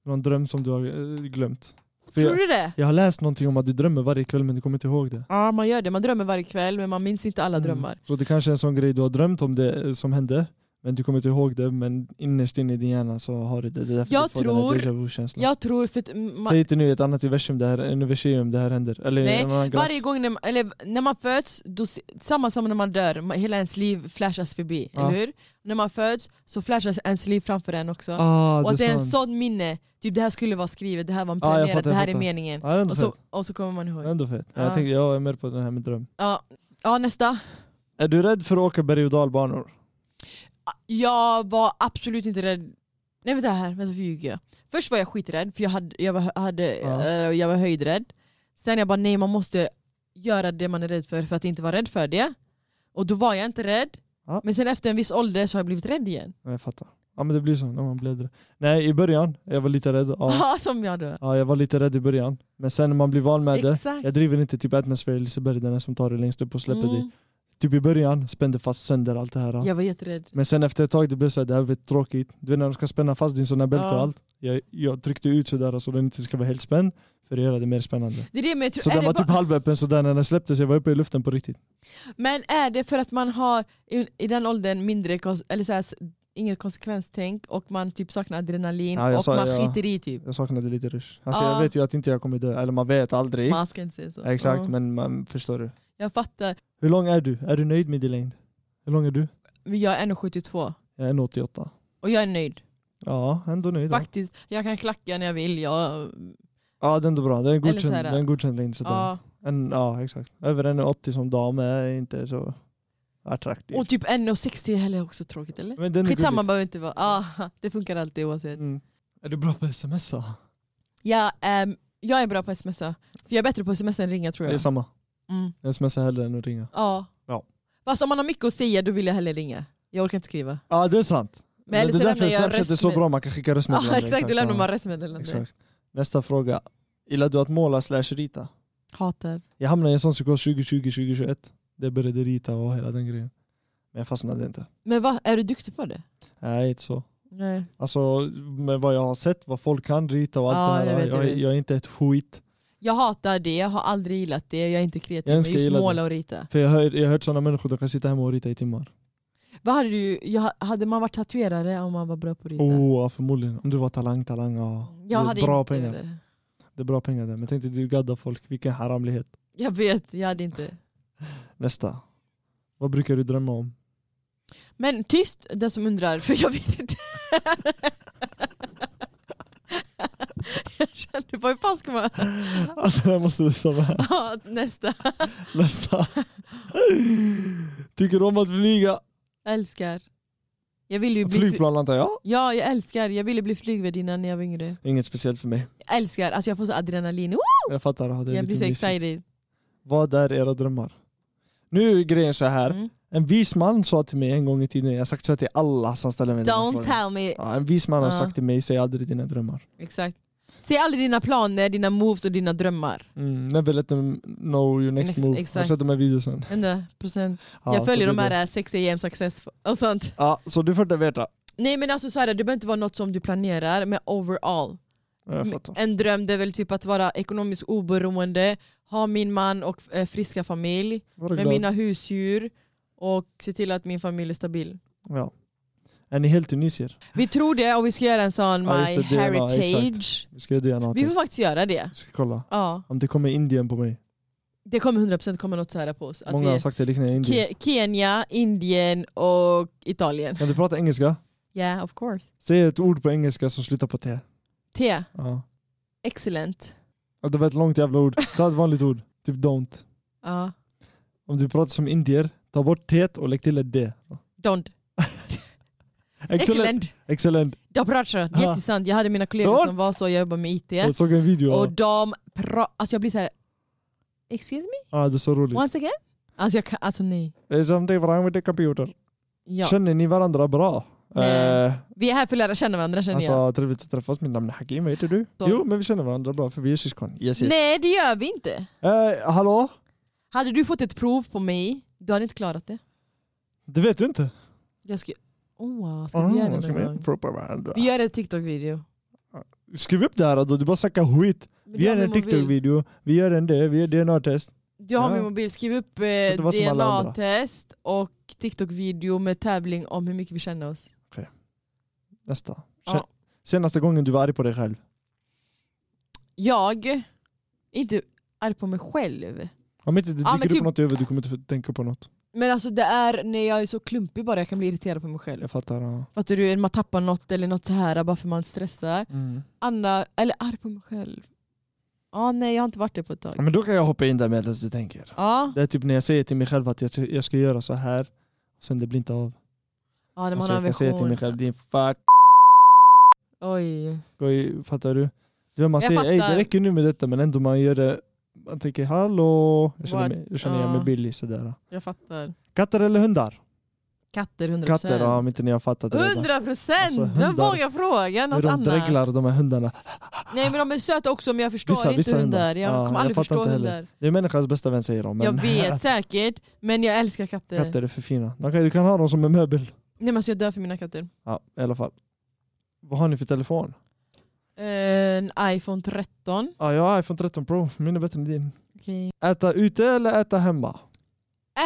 Speaker 2: Någon dröm som du har eh, glömt. För
Speaker 1: Tror
Speaker 2: jag,
Speaker 1: du det?
Speaker 2: jag har läst någonting om att du drömmer varje kväll men du kommer inte ihåg det.
Speaker 1: Ja man gör det, man drömmer varje kväll men man minns inte alla
Speaker 2: Mm.
Speaker 1: drömmar.
Speaker 2: Så det kanske är en sån grej du har drömt om det eh, som hände, men du kommer inte ihåg det, men innerst inne i din hjärna så har du det. Det är därför
Speaker 1: Jag
Speaker 2: du får
Speaker 1: tror-
Speaker 2: den här déjà vu-känslan.
Speaker 1: Jag tror för att mm, man,
Speaker 2: Säg inte nu i ett annat universum det här, universum det här händer. Eller
Speaker 1: Nej,
Speaker 2: en annan
Speaker 1: Varje gång när man, eller när man föds, då, se- samma som när man dör, man, hela ens liv flashas förbi,
Speaker 2: Ja.
Speaker 1: eller hur? När man föds så flashas ens liv framför en också.
Speaker 2: Ah,
Speaker 1: och det är en
Speaker 2: sant.
Speaker 1: sån minne, typ det här skulle vara skrivet, det här var en
Speaker 2: Ja, jag
Speaker 1: planerat,
Speaker 2: fattar,
Speaker 1: det här
Speaker 2: jag
Speaker 1: är
Speaker 2: fattar.
Speaker 1: meningen.
Speaker 2: Ja, det är ändå
Speaker 1: Och
Speaker 2: fett.
Speaker 1: så, och så kommer man
Speaker 2: Det
Speaker 1: ihåg.
Speaker 2: är Ändå fett.
Speaker 1: Ja.
Speaker 2: Jag, tänkte, jag är med på den här med dröm.
Speaker 1: Ja, ja nästa.
Speaker 2: Är du rädd för att åka berg och dalbanor?
Speaker 1: Jag var absolut inte rädd Nej vänta här, vänta för ljuger jag? Först var jag skiträdd för jag, hade, jag, var, hade,
Speaker 2: Ja.
Speaker 1: eh, jag var höjdrädd Sen jag bara nej man måste göra det man är rädd för för att inte vara rädd för det Och då var jag inte rädd
Speaker 2: Ja.
Speaker 1: Men sen efter en viss ålder så har jag blivit rädd igen
Speaker 2: Nej, jag fattar. Ja men det blir så när man blir äldre. Nej i början, jag var lite rädd. Ja.
Speaker 1: Ja som jag då
Speaker 2: ja jag var lite rädd i början. Men sen när man blir van med det.
Speaker 1: Exakt
Speaker 2: Jag driver inte typ Atmosphere i Liseberg, den är som tar det längst upp och släpper dig.
Speaker 1: Mm,
Speaker 2: Typ i början spände fast sönder allt det här.
Speaker 1: Jag var jätterädd
Speaker 2: Men sen efter ett tag det blev såhär, det här blir tråkigt. Du vet när de ska spänna fast din sån här bälte
Speaker 1: Ja.
Speaker 2: och allt. Jag, jag tryckte ut sådär så den inte ska vara helt spänd. För att göra det mer spännande.
Speaker 1: det är det, men, jag tror,
Speaker 2: Så
Speaker 1: är
Speaker 2: den
Speaker 1: det
Speaker 2: var
Speaker 1: bara-
Speaker 2: typ halvöppen sådär när den släpptes, jag var uppe i luften på riktigt.
Speaker 1: men är det för att man har i, i den åldern mindre kons- eller så här, s- inget konsekvenstänk och man typ saknar adrenalin
Speaker 2: Ja, jag
Speaker 1: och
Speaker 2: sa-
Speaker 1: man
Speaker 2: ja.
Speaker 1: skiter i typ?
Speaker 2: Jag saknade lite rush. Alltså
Speaker 1: Ja.
Speaker 2: jag vet ju att inte jag kommer dö, eller man vet aldrig.
Speaker 1: Man ska inte säga så.
Speaker 2: Exakt,
Speaker 1: Ja.
Speaker 2: men man förstår du.
Speaker 1: Jag fattar.
Speaker 2: Hur lång är du? Är du nöjd med din längd? Hur lång är du?
Speaker 1: Men jag är 1,72
Speaker 2: Jag är 1,88.
Speaker 1: och jag är nöjd.
Speaker 2: Ja, ändå nöjd. då.
Speaker 1: Faktiskt, jag kan klacka när jag vill. Jag,
Speaker 2: Ja, det är ändå bra. Det är en
Speaker 1: Eller
Speaker 2: godkänd,
Speaker 1: så här,
Speaker 2: det är en godkänd längd. Sådär. Ja.
Speaker 1: ja.
Speaker 2: En, ja, exakt. Över 1,80 som dam är inte så attraktiv.
Speaker 1: Och typ 1,60 är heller också tråkigt eller?
Speaker 2: Men det är ändå
Speaker 1: Skitsamma
Speaker 2: gulligt.
Speaker 1: behöver inte vara. Ah, det funkar alltid oavsett.
Speaker 2: Mm. Är du bra på att smsa?
Speaker 1: Jag, ehm, jag är bra på att smsa. För jag är bättre på att smsa än ringa tror
Speaker 2: Det är
Speaker 1: jag.
Speaker 2: samma.
Speaker 1: Mm.
Speaker 2: Jag smsar hellre än att ringa.
Speaker 1: Ja.
Speaker 2: Ja.
Speaker 1: Fast om man har mycket att säga då vill jag hellre ringa. Jag orkar inte skriva.
Speaker 2: Ja, det är sant.
Speaker 1: Men eller
Speaker 2: det
Speaker 1: så
Speaker 2: är därför
Speaker 1: lämnar jag
Speaker 2: Snapchat är så
Speaker 1: röstmed-
Speaker 2: bra, man kan skicka
Speaker 1: Ja
Speaker 2: röstmeddelanden.
Speaker 1: exakt, då lämnar
Speaker 2: ja.
Speaker 1: man röstmeddelande.
Speaker 2: Exakt. Nästa fråga. Gillar du att måla slash rita?
Speaker 1: Hatar.
Speaker 2: Jag hamnade i en sån psykos 2020, 2021. Det började rita och hela den grejen. Men jag fastnade inte.
Speaker 1: Men vad, är du duktig på det?
Speaker 2: Nej, inte så.
Speaker 1: Nej.
Speaker 2: Alltså med vad jag har sett, vad folk kan rita och
Speaker 1: Ja,
Speaker 2: allt det
Speaker 1: jag
Speaker 2: här. Jag,
Speaker 1: vet, jag
Speaker 2: jag,
Speaker 1: vet.
Speaker 2: är inte ett skit.
Speaker 1: Jag hatar det, jag har aldrig gillat det, jag är inte kreativ
Speaker 2: Jag
Speaker 1: med
Speaker 2: önskar jag
Speaker 1: just
Speaker 2: gillade
Speaker 1: måla och rita.
Speaker 2: För jag har jag har hört sådana människor som kan sitta hemma och rita i timmar.
Speaker 1: Vad hade, du, jag, hade man varit tatuerare om man var bra på att rita?
Speaker 2: Oh, ja, förmodligen. Om du var talang, talang, ja.
Speaker 1: jag
Speaker 2: det
Speaker 1: hade
Speaker 2: är bra
Speaker 1: inte
Speaker 2: pengar.
Speaker 1: det.
Speaker 2: Det är bra pengar där. Men tänk dig, du gaddar folk, vilken haramlighet.
Speaker 1: Jag vet, jag hade inte.
Speaker 2: Nästa. Vad brukar du drömma om?
Speaker 1: Men tyst den som undrar, för jag vet inte. jag kände bara, hur fan ska man...
Speaker 2: Allt det här måste du ta med.
Speaker 1: Ja, Nästa.
Speaker 2: Nästa. Tycker du om att flyga?
Speaker 1: Älskar. Jag ville ju bli fly-
Speaker 2: Flygplan antar jag?
Speaker 1: Ja, jag älskar. Jag ville bli flygvärdinna när jag var yngre.
Speaker 2: Inget speciellt för mig.
Speaker 1: Jag älskar. Alltså jag får så adrenalin. Woo!
Speaker 2: Jag fattar. Ja, det är
Speaker 1: Jag
Speaker 2: lite
Speaker 1: blir så
Speaker 2: mysigt.
Speaker 1: excited.
Speaker 2: Vad är era drömmar? Nu är grejen så här.
Speaker 1: Mm.
Speaker 2: En vis man sa till mig en gång i tiden, jag har sagt så här till alla som ställer mig den här
Speaker 1: Don't
Speaker 2: frågan.
Speaker 1: tell me.
Speaker 2: Ja, en vis man har
Speaker 1: Ja.
Speaker 2: sagt till mig, säg aldrig dina drömmar.
Speaker 1: Exakt. Se aldrig dina planer, dina moves och dina drömmar.
Speaker 2: Mm, never let them know your next
Speaker 1: Next-
Speaker 2: move. Jag har
Speaker 1: exakt.
Speaker 2: sett de här videosen.
Speaker 1: 100 procent.
Speaker 2: Ja,
Speaker 1: jag följer
Speaker 2: så
Speaker 1: de
Speaker 2: det
Speaker 1: här
Speaker 2: är det.
Speaker 1: där 6 AM success och sånt.
Speaker 2: Ja, så du får det veta.
Speaker 1: Nej men alltså såhär, det behöver inte vara något som du planerar, men overall.
Speaker 2: Ja, Jag fattar.
Speaker 1: En dröm det är väl typ att vara ekonomiskt oberoende, ha min man och eh, friska familj,
Speaker 2: Var
Speaker 1: med
Speaker 2: glad.
Speaker 1: mina husdjur och se till att min familj är stabil.
Speaker 2: Ja. Är ni helt tunisier?
Speaker 1: Vi tror det och vi ska göra en sån
Speaker 2: Ja, just
Speaker 1: My
Speaker 2: det, DNA,
Speaker 1: Heritage.
Speaker 2: Vi ska göra
Speaker 1: Vi får
Speaker 2: DNA-test.
Speaker 1: faktiskt göra det.
Speaker 2: Vi ska kolla.
Speaker 1: Ja.
Speaker 2: Om det kommer Indien på mig.
Speaker 1: Det kommer 100% komma något så här på oss. Att
Speaker 2: Många
Speaker 1: vi
Speaker 2: har sagt det liknande Indien.
Speaker 1: Ke- Kenya, Indien och Italien.
Speaker 2: Kan du prata engelska?
Speaker 1: Yeah, of course.
Speaker 2: Säg ett ord på engelska som slutar på T.
Speaker 1: T.
Speaker 2: Ja.
Speaker 1: Excellent.
Speaker 2: Ja, Det var ett långt jävla ord. Ta ett vanligt ord. Typ don't.
Speaker 1: Ja.
Speaker 2: Om du pratar som indier, ta bort T och lägg till ett D.
Speaker 1: Don't.
Speaker 2: Excellent!
Speaker 1: Excellent.
Speaker 2: Excellent!
Speaker 1: De pratar. Det är
Speaker 2: Ja.
Speaker 1: jättesant. Jag hade mina kollegor
Speaker 2: Don't.
Speaker 1: som var så, jag jobbar med IT.
Speaker 2: Jag såg en video.
Speaker 1: Och de pratar... Alltså jag blir så här. Excuse
Speaker 2: Ja, det är så roligt.
Speaker 1: me? Once again? Alltså, jag kan, alltså nej.
Speaker 2: Det är something wrong with the computer.
Speaker 1: Ja.
Speaker 2: Känner ni varandra bra?
Speaker 1: Nej.
Speaker 2: Eh,
Speaker 1: Vi är här för att lära känna varandra känner jag.
Speaker 2: alltså, trevligt att träffas. Mitt namn är Hakim, vad heter du?
Speaker 1: Så.
Speaker 2: Jo, men vi känner varandra bra för vi är syskon. Yes, yes.
Speaker 1: Nej det gör vi inte.
Speaker 2: Eh, hallå?
Speaker 1: Hade du fått ett prov på mig, du hade inte klarat det.
Speaker 2: Det vet du inte?
Speaker 1: Jag skulle... Oh, ska vi göra
Speaker 2: Oh,
Speaker 1: det
Speaker 2: ska
Speaker 1: någon
Speaker 2: vi
Speaker 1: gång?
Speaker 2: prova varandra?
Speaker 1: Vi gör en TikTok-video.
Speaker 2: Skriv upp det här då, du bara snackar skit.
Speaker 1: Men
Speaker 2: Vi
Speaker 1: jag
Speaker 2: gör
Speaker 1: har
Speaker 2: en
Speaker 1: min mobil.
Speaker 2: TikTok-video, vi gör en det, vi gör DNA-test.
Speaker 1: Du har
Speaker 2: Ja.
Speaker 1: min mobil, skriv upp eh,
Speaker 2: inte vara som alla andra.
Speaker 1: DNA-test och TikTok-video med tävling om hur mycket vi känner oss.
Speaker 2: Nästa.
Speaker 1: Ja.
Speaker 2: Sen- Senaste gången du var arg på dig själv.
Speaker 1: Jag är inte arg på mig själv.
Speaker 2: Om inte det dyker
Speaker 1: Ja, men
Speaker 2: upp
Speaker 1: typ-
Speaker 2: något i huvudet, du kommer inte tänka på något.
Speaker 1: Men alltså det är när jag är så klumpig bara, jag kan bli irriterad på mig själv.
Speaker 2: Jag fattar. Ja.
Speaker 1: Fattar du? Man tappar något eller något så här bara för man stressar.
Speaker 2: Mm.
Speaker 1: Anna, eller arg på mig själv. Ja, nej jag har inte varit det på ett
Speaker 2: Ja,
Speaker 1: tag.
Speaker 2: Men då kan jag hoppa in där medan du tänker.
Speaker 1: Ja,
Speaker 2: Det är typ när jag säger till mig själv att jag, jag ska göra så här, sen det blir inte av.
Speaker 1: ja när man
Speaker 2: Alltså,
Speaker 1: har en
Speaker 2: jag kan säga till mig själv,
Speaker 1: vision.
Speaker 2: din fuck.
Speaker 1: Oj.
Speaker 2: Och i- Fattar du? du vet, man
Speaker 1: Jag
Speaker 2: säger, "Ey,
Speaker 1: fattar."
Speaker 2: det räcker nu med detta, men ändå man gör det. Man tänker, hallå, jag känner,
Speaker 1: What?
Speaker 2: mig, jag känner igen
Speaker 1: Ja.
Speaker 2: mig billig sådär.
Speaker 1: Jag fattar.
Speaker 2: Katter eller hundar?
Speaker 1: Katter 100%.
Speaker 2: Katter, ja, om inte ni har fattat det redan.
Speaker 1: 100 procent!
Speaker 2: Alltså,
Speaker 1: Vem
Speaker 2: hundar.
Speaker 1: vågar fråga
Speaker 2: Hur
Speaker 1: något
Speaker 2: de
Speaker 1: annat?
Speaker 2: dreglar de här hundarna.
Speaker 1: Nej men de är söta också men jag förstår
Speaker 2: Vissa-
Speaker 1: inte
Speaker 2: vissa
Speaker 1: hundar.
Speaker 2: hundar.
Speaker 1: Jag
Speaker 2: Ja,
Speaker 1: kommer
Speaker 2: jag
Speaker 1: aldrig
Speaker 2: fattar
Speaker 1: förstå
Speaker 2: inte heller.
Speaker 1: hundar.
Speaker 2: Det är människans bästa vän säger de. Men
Speaker 1: Jag vet säkert, men jag älskar katter.
Speaker 2: katter är för fina. De kan- Du kan ha dem som en möbel.
Speaker 1: Nej men alltså jag dör för mina katter.
Speaker 2: Ja, i alla fall. Vad har ni för telefon?
Speaker 1: Eh, En iPhone 13.
Speaker 2: Ja, jag har iPhone 13 Pro. Min är bättre än din.
Speaker 1: Okej.
Speaker 2: Äta ute eller äta hemma?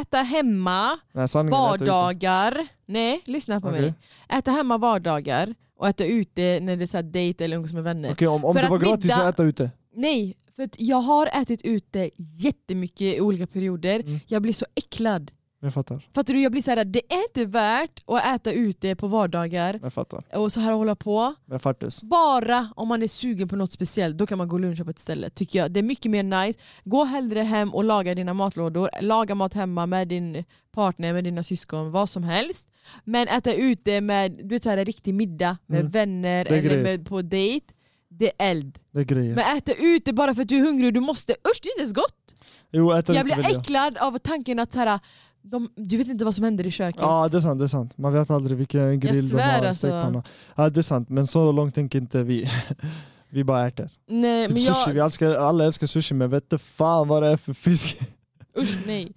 Speaker 1: Äta hemma,
Speaker 2: Nej, sanningen är äta Mm, ute.
Speaker 1: vardagar. Nej, lyssna på
Speaker 2: Okej.
Speaker 1: mig. Äta hemma vardagar och äta ute när det är så här dejt eller umgås med vänner.
Speaker 2: Okej, om, om
Speaker 1: För
Speaker 2: det var
Speaker 1: att
Speaker 2: gratis
Speaker 1: middag-
Speaker 2: så äta ute.
Speaker 1: Nej, för att jag har ätit ute jättemycket i olika perioder.
Speaker 2: Mm.
Speaker 1: Jag blir så äcklad.
Speaker 2: Jag fattar.
Speaker 1: Fattar du? Jag blir så här, det är inte värt att äta ute på vardagar
Speaker 2: Jag fattar.
Speaker 1: och så här hålla på.
Speaker 2: Jag fattas.
Speaker 1: Bara om man är sugen på något speciellt, då kan man gå och luncha på ett ställe tycker jag. Det är mycket mer nice. Gå hellre hem och laga dina matlådor, laga mat hemma med din partner, med dina syskon, vad som helst. Men äta ute med du vet, så här, en riktig middag med
Speaker 2: Mm.
Speaker 1: vänner
Speaker 2: Det är
Speaker 1: eller
Speaker 2: grejer.
Speaker 1: med, på dejt, det är eld.
Speaker 2: Det är grejen.
Speaker 1: Men äta ute bara för att du är hungrig, du måste, usch det är inte ens gott!
Speaker 2: jo, äta
Speaker 1: Jag
Speaker 2: ute vill
Speaker 1: blir äcklad av tanken att så här, de, du vet inte vad som händer i köket.
Speaker 2: Ja, det är sant. Det är sant. Man vet aldrig vilken grill de
Speaker 1: svär,
Speaker 2: har.
Speaker 1: alltså.
Speaker 2: Alltså. Ja, det är sant. Men så långt tänker inte vi. vi bara äter.
Speaker 1: Nej,
Speaker 2: Typ
Speaker 1: men
Speaker 2: sushi.
Speaker 1: jag,
Speaker 2: Vi älskar, alla älskar sushi, men vet du fan vad det är för fisk.
Speaker 1: usch nej.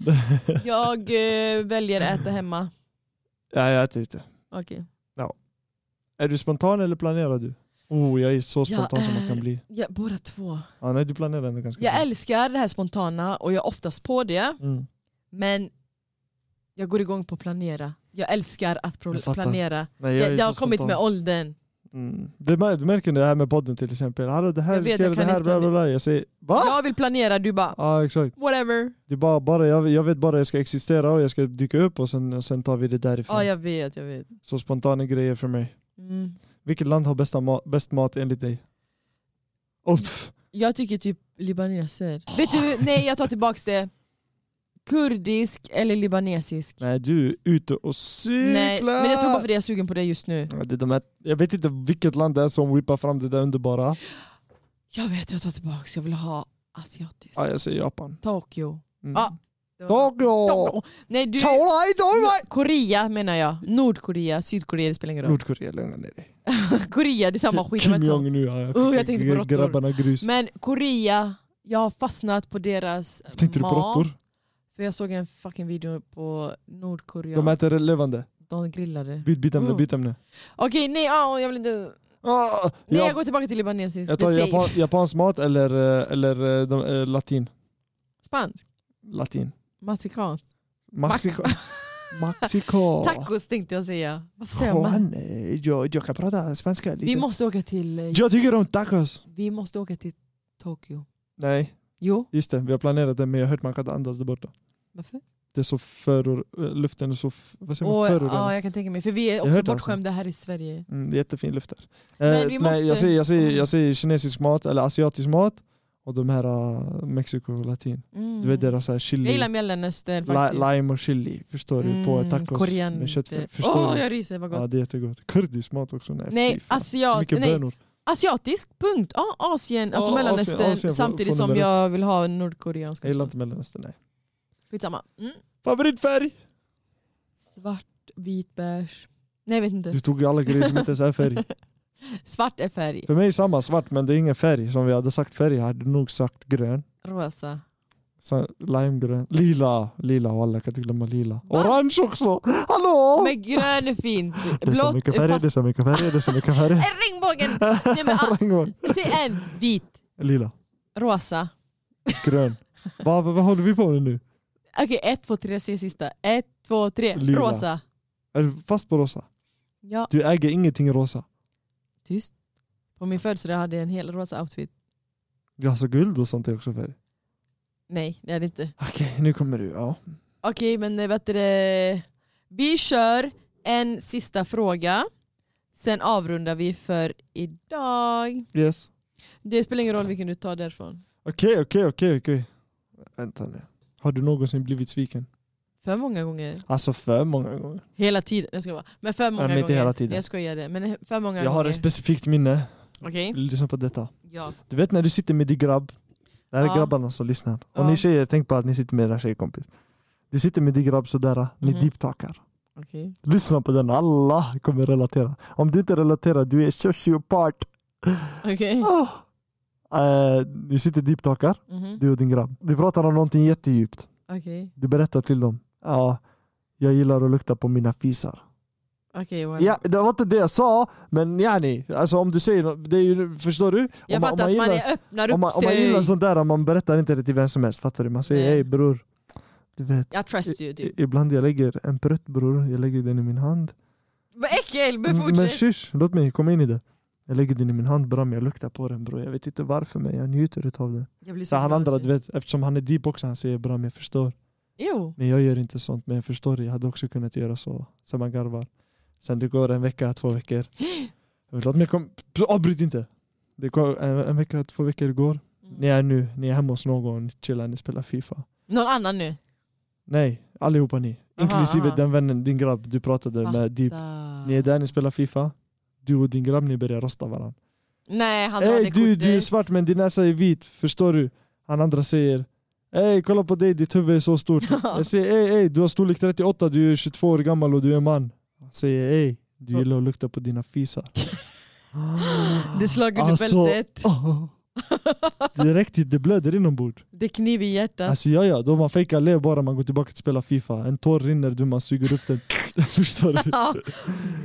Speaker 1: Jag eh, väljer att äta hemma.
Speaker 2: ja, jag äter ute.
Speaker 1: Okej.
Speaker 2: Är du spontan eller planerar du? Oh, jag är så spontan som man
Speaker 1: är-
Speaker 2: kan bli.
Speaker 1: Ja, båda två.
Speaker 2: Ja, nej, du planerar ändå ganska
Speaker 1: Jag
Speaker 2: bra.
Speaker 1: älskar det här spontana och jag är oftast på det,
Speaker 2: Mm.
Speaker 1: men jag går igång på att planera. Jag älskar att pro-
Speaker 2: Jag fattar.
Speaker 1: planera.
Speaker 2: Nej,
Speaker 1: Jag,
Speaker 2: är
Speaker 1: jag,
Speaker 2: så
Speaker 1: har kommit
Speaker 2: spontan.
Speaker 1: med åldern.
Speaker 2: Mm. Det, mär- du märker det här med podden till exempel. Hallå det här,
Speaker 1: Jag
Speaker 2: vi
Speaker 1: vet,
Speaker 2: ska
Speaker 1: jag
Speaker 2: göra det
Speaker 1: kan
Speaker 2: här,
Speaker 1: inte
Speaker 2: bla bla bla. Jag säger va? Ja,
Speaker 1: Jag vill planera, du bara
Speaker 2: exakt.
Speaker 1: whatever.
Speaker 2: Det är bara, bara, jag, jag vet bara jag ska existera och jag ska dyka upp och sen, och sen tar vi det därifrån.
Speaker 1: Ja jag vet, jag vet.
Speaker 2: Så spontana grejer för mig.
Speaker 1: Mm.
Speaker 2: Vilket land har bästa ma- bäst mat enligt dig? Uff.
Speaker 1: Jag tycker typ libaneser. Vet du, nej jag tar tillbaks det. kurdisk eller libanesisk.
Speaker 2: Nej, du är ute och cyklar!
Speaker 1: Nej, men jag tror bara för det jag är sugen på det just nu.
Speaker 2: Ja, det är de här, jag vet inte vilket land det är som whippar fram det där underbara.
Speaker 1: Jag vet, jag tar tillbaka. Jag vill ha asiatisk.
Speaker 2: Ja, jag säger Japan.
Speaker 1: Tokyo.
Speaker 2: Mm.
Speaker 1: Ja.
Speaker 2: Tokyo!
Speaker 1: Tokyo. Nej, du...
Speaker 2: Tolai, Tolai!
Speaker 1: Korea menar jag. Nordkorea, Sydkorea, det spelar ingen roll.
Speaker 2: Nordkorea, lugna ner dig.
Speaker 1: Korea, det är samma skit.
Speaker 2: Kim
Speaker 1: Men,
Speaker 2: Jong nu, ja,
Speaker 1: Oh,
Speaker 2: skickar
Speaker 1: jag tänkte på
Speaker 2: gre-
Speaker 1: råttor.
Speaker 2: grabbarna grus.
Speaker 1: men Korea, jag har fastnat på deras
Speaker 2: Tänkte du på
Speaker 1: mat.
Speaker 2: råttor?
Speaker 1: För jag såg en fucking video på Nordkorea.
Speaker 2: De
Speaker 1: De,
Speaker 2: äter levande.
Speaker 1: grillade.
Speaker 2: Byt, byt ämne,
Speaker 1: Mm.
Speaker 2: byt ämne.
Speaker 1: Okej, nej, ah, jag vill inte...
Speaker 2: Ah,
Speaker 1: Nej,
Speaker 2: ja.
Speaker 1: jag går tillbaka till libanesiskt.
Speaker 2: Jag
Speaker 1: Det
Speaker 2: tar
Speaker 1: är
Speaker 2: japan,
Speaker 1: safe.
Speaker 2: japansk mat eller, eh, eller eh, de, eh, latin.
Speaker 1: Spansk.
Speaker 2: Latin.
Speaker 1: Mexikanskt.
Speaker 2: Mexiko. Mexiko.
Speaker 1: Tacos tänkte jag säga. Varför säger jag man?
Speaker 2: Johan, eh, jag, jag kan prata svenska lite.
Speaker 1: Vi måste åka till... eh,
Speaker 2: Jag tycker om tacos.
Speaker 1: Vi måste åka till Tokyo.
Speaker 2: Nej,
Speaker 1: Jo,
Speaker 2: just det. Vi har planerat det men jag har hört man kan inte andas där borta.
Speaker 1: varför?
Speaker 2: Det är så föror... eh, Luften är så... f- Vad säger man?
Speaker 1: Och, ja,
Speaker 2: Förorenad.
Speaker 1: jag kan tänka mig. För vi är
Speaker 2: Jag
Speaker 1: också
Speaker 2: hörde alltså.
Speaker 1: bortskämda här i Sverige.
Speaker 2: Mm, jättefin luft där.
Speaker 1: Men
Speaker 2: Eh,
Speaker 1: vi
Speaker 2: nej, jag,
Speaker 1: måste-
Speaker 2: säger, jag, säger,
Speaker 1: Mm.
Speaker 2: jag säger kinesisk mat eller asiatisk mat och de här eh, Mexiko och latin.
Speaker 1: Mm.
Speaker 2: Du vet deras så här
Speaker 1: Jag
Speaker 2: chili.
Speaker 1: gillar Mellanöstern
Speaker 2: Li-
Speaker 1: faktiskt.
Speaker 2: lime och chili, förstår du? På
Speaker 1: Mm,
Speaker 2: tacos
Speaker 1: koriander.
Speaker 2: med köttfärs. Förstår
Speaker 1: Åh,
Speaker 2: du?
Speaker 1: jag ryser, vad gott.
Speaker 2: Ja, det är jättegott. Kurdisk mat också. Nej,
Speaker 1: nej,
Speaker 2: fy fan. Så
Speaker 1: asiat,
Speaker 2: mycket
Speaker 1: nej,
Speaker 2: bönor.
Speaker 1: asiatisk, punkt. Ja, Asien, alltså
Speaker 2: Ja,
Speaker 1: Mellanöstern,
Speaker 2: Asien, Asien får-
Speaker 1: samtidigt
Speaker 2: får
Speaker 1: som
Speaker 2: nummer
Speaker 1: jag vill ha nordkoreansk.
Speaker 2: Jag gillar inte Mellanöstern, nej.
Speaker 1: Skitsamma. Mm.
Speaker 2: Favoritfärg?
Speaker 1: Svart, vit, beige. Nej jag vet
Speaker 2: Du
Speaker 1: inte.
Speaker 2: tog ju alla grejer som inte ens är färg.
Speaker 1: Svart är färg.
Speaker 2: För mig är samma svart, men det är ingen färg. Som vi hade sagt färg, jag hade nog sagt grön.
Speaker 1: Rosa.
Speaker 2: Sen limegrön. Lila! Lila, alla kan inte glömma lila. Orange också! Hallå!
Speaker 1: Men grön är fint.
Speaker 2: det är så
Speaker 1: Blått
Speaker 2: mycket
Speaker 1: är
Speaker 2: färger, det är
Speaker 1: fast...
Speaker 2: så mycket färger, det är så mycket färger.
Speaker 1: Äh, Regnbågen! Nej men ah,
Speaker 2: Regnbåge.
Speaker 1: säg en. Vit.
Speaker 2: lila,
Speaker 1: Rosa.
Speaker 2: grön. Vad vad vad håller vi på med nu?
Speaker 1: Okej, ett, två, tre, se sista. Ett, två, tre.
Speaker 2: Lila.
Speaker 1: Rosa.
Speaker 2: Är du fast på rosa?
Speaker 1: Ja,
Speaker 2: Du äger ingenting rosa.
Speaker 1: tyst. På min födelsedag hade jag en hel rosa outfit.
Speaker 2: Alltså guld och sånt är också färg.
Speaker 1: Nej, det hade jag inte.
Speaker 2: Okej, nu kommer du. Ja.
Speaker 1: Okej, men eh, vet du det? Vi kör en sista fråga. Sen avrundar vi för idag.
Speaker 2: Yes.
Speaker 1: Det spelar ingen roll vilken du tar därifrån.
Speaker 2: Okej, okej, okej, okej. Vänta nu. Har du någonsin blivit sviken?
Speaker 1: För många gånger.
Speaker 2: Alltså för många gånger.
Speaker 1: Hela tiden. Jag ska vara. Men för många
Speaker 2: men inte
Speaker 1: gånger.
Speaker 2: hela tiden.
Speaker 1: Jag skojade. Men för många
Speaker 2: Jag har
Speaker 1: gånger.
Speaker 2: ett specifikt minne.
Speaker 1: Okej.
Speaker 2: Lyssna på detta.
Speaker 1: Ja.
Speaker 2: Du vet när du sitter med din grabb. Det här är
Speaker 1: Ja.
Speaker 2: grabbarna som lyssnar. Och
Speaker 1: Ja.
Speaker 2: ni tjejer, tänk på att ni sitter med era tjejkompis. Du sitter med din grabb sådär, ni
Speaker 1: Mhm.
Speaker 2: deeptalkar.
Speaker 1: Okej.
Speaker 2: Lyssna på den, alla kommer relatera. Om du inte relaterar, du är sociopat.
Speaker 1: Okej.
Speaker 2: Oh. Eh, ni sitter deeptalkar,
Speaker 1: Mhm.
Speaker 2: du och din grabb. Du pratar om någonting jättedjupt.
Speaker 1: Okej.
Speaker 2: Du berättar till dem. Ja, jag gillar att lukta på mina fisar.
Speaker 1: Okej. whatever.
Speaker 2: Ja, det var inte det jag sa, men yani, alltså om du säger nå- det är ju, förstår du? Om
Speaker 1: Jag
Speaker 2: man-
Speaker 1: fattar
Speaker 2: om man
Speaker 1: att man
Speaker 2: gillar-
Speaker 1: är- öppnar upp
Speaker 2: Om man, om man
Speaker 1: sig.
Speaker 2: gillar sånt där, man berättar inte det till vem som helst, fattar du? Man säger
Speaker 1: Nej.
Speaker 2: hej bror, du vet.
Speaker 1: Jag trust you
Speaker 2: i-
Speaker 1: typ.
Speaker 2: Ibland jag lägger en prutt bror, jag lägger den i min hand. Mm,
Speaker 1: Vad äckel! Men
Speaker 2: men
Speaker 1: fortsätt.
Speaker 2: shush, låt mig komma in i det. Jag lägger den i min hand bram, jag luktar på den bror. Jag vet inte varför men jag njuter utav den.
Speaker 1: Jag blir
Speaker 2: Så han
Speaker 1: glad,
Speaker 2: andra,
Speaker 1: typ.
Speaker 2: du vet, eftersom han är deep också, han säger bram jag förstår.
Speaker 1: Jo.
Speaker 2: Men jag gör inte sånt, men jag förstår det. Jag hade också kunnat göra så. Så man garvar. Sen det går en vecka, två veckor. Låt mig kom... Pss, Avbryt inte! Det går en, en vecka, två veckor går.
Speaker 1: Mm.
Speaker 2: Ni är nu, ni är hemma hos någon, ni chillar, ni spelar FIFA.
Speaker 1: Någon annan nu?
Speaker 2: Nej, allihopa ni.
Speaker 1: Aha,
Speaker 2: Inklusive
Speaker 1: aha.
Speaker 2: den vännen, din grabb du pratade med. Deep. Ni är där, ni spelar FIFA. Du och din grabb, ni börjar rösta varandra.
Speaker 1: Nej, han
Speaker 2: Ey
Speaker 1: hade
Speaker 2: du, du är
Speaker 1: kortet.
Speaker 2: svart men din näsa är vit, förstår du? Han andra säger Ey kolla på dig, ditt huvud är så stort. Jag säger ey ey, du har storlek 38, du är 22 år gammal och du är man. Han säger ey, du gillar att lukta på dina fisar.
Speaker 1: Det slog under
Speaker 2: Alltså,
Speaker 1: bältet.
Speaker 2: Ah. Direkt hit, det blöder inombords.
Speaker 1: Det kniv i hjärtat.
Speaker 2: Alltså ja ja, då man fejkar lev bara man går tillbaka till spela FIFA. En tår rinner du, man suger upp den. förstår du?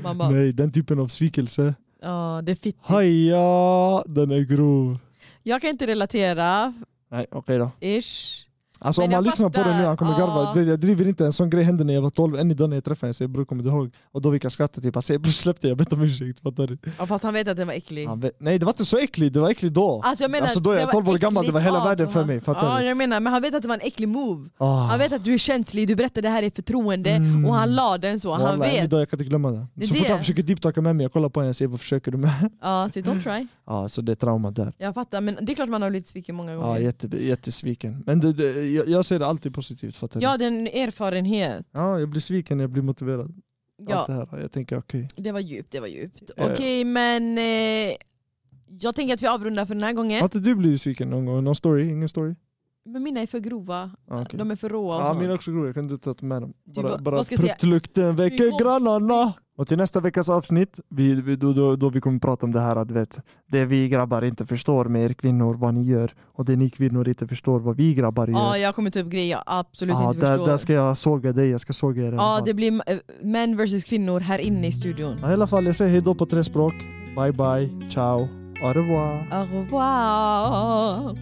Speaker 1: Man bara,
Speaker 2: Nej, den typen av svikelse.
Speaker 1: ja det är fittigt.
Speaker 2: Haja, den är grov.
Speaker 1: Jag kan inte relatera,
Speaker 2: Nej okej då.
Speaker 1: ish.
Speaker 2: Alltså
Speaker 1: Men
Speaker 2: om man
Speaker 1: jag
Speaker 2: lyssnar på det nu, han kommer
Speaker 1: fattar.
Speaker 2: garva.
Speaker 1: Ja.
Speaker 2: Du vet, Jag driver inte, en sån grej hände när jag var 12, än idag när jag träffade henne. Jag säger bror kommer du ihåg? Och då fick jag skratta typ, han säger bror släpp det, jag bett om ursäkt. Fattar du?
Speaker 1: Ja, fast han vet att den var äcklig.
Speaker 2: Han vet- Nej det var inte så äckligt, det var äckligt då.
Speaker 1: Alltså, jag menar,
Speaker 2: Alltså, då är
Speaker 1: det
Speaker 2: jag
Speaker 1: var
Speaker 2: 12 år gammal,
Speaker 1: äckligt
Speaker 2: det var hela
Speaker 1: av
Speaker 2: världen för
Speaker 1: honom.
Speaker 2: mig, fattar
Speaker 1: ja,
Speaker 2: du?
Speaker 1: jag menar, men han vet att det var en äcklig move.
Speaker 2: Ah.
Speaker 1: Han vet att du är känslig, du berättar det här är förtroende
Speaker 2: Mm.
Speaker 1: och han la den så. Han
Speaker 2: Wallah, än
Speaker 1: vet.
Speaker 2: idag jag kan inte glömma det.
Speaker 1: Det är
Speaker 2: så fort
Speaker 1: det.
Speaker 2: han försöker deeptalka med mig, jag kollar på honom och säger vad försöker du med?
Speaker 1: Ja, så don't try.
Speaker 2: Ja så det är trauma där.
Speaker 1: Jag fattar, men det är klart man har blivit sviken många
Speaker 2: Ja
Speaker 1: gånger.
Speaker 2: jätte, jättesviken. Men det, det, jag, jag ser det alltid positivt fattar du?
Speaker 1: Ja, det är en erfarenhet.
Speaker 2: ja, jag blir sviken, jag blir motiverad. Allt det
Speaker 1: Ja,
Speaker 2: här. Jag tänker okej.
Speaker 1: det var djupt, det var djupt.
Speaker 2: Ja, ja.
Speaker 1: Okej, men eh, jag tänker att vi avrundar för den här
Speaker 2: Har
Speaker 1: gången.
Speaker 2: inte du blivit sviken någon gång? Någon story? Ingen story?
Speaker 1: Men mina är för grova,
Speaker 2: Ah, okay.
Speaker 1: de är för råa och
Speaker 2: Ja,
Speaker 1: sånt.
Speaker 2: mina är också grova, jag kan inte ta med dem. Bara,
Speaker 1: vad-
Speaker 2: bara
Speaker 1: vad ska jag säga?
Speaker 2: pruttlukten
Speaker 1: Vi
Speaker 2: väcker
Speaker 1: går-
Speaker 2: grannarna! Och till nästa veckas avsnitt, vi, vi, då, då, då vi kommer prata om det här att vet, det vi grabbar inte förstår med er kvinnor, vad ni gör. Och det ni kvinnor inte förstår, vad vi grabbar gör.
Speaker 1: Ja, jag kommer ta upp grejer jag absolut
Speaker 2: Ja,
Speaker 1: inte
Speaker 2: där,
Speaker 1: förstår.
Speaker 2: där ska jag såga dig, jag ska såga er. i alla
Speaker 1: Ja,
Speaker 2: fall.
Speaker 1: det blir eh, män versus kvinnor här inne i studion.
Speaker 2: Ja, I alla fall, jag säger hejdå på tre språk. Bye bye, ciao, au revoir.
Speaker 1: Au revoir!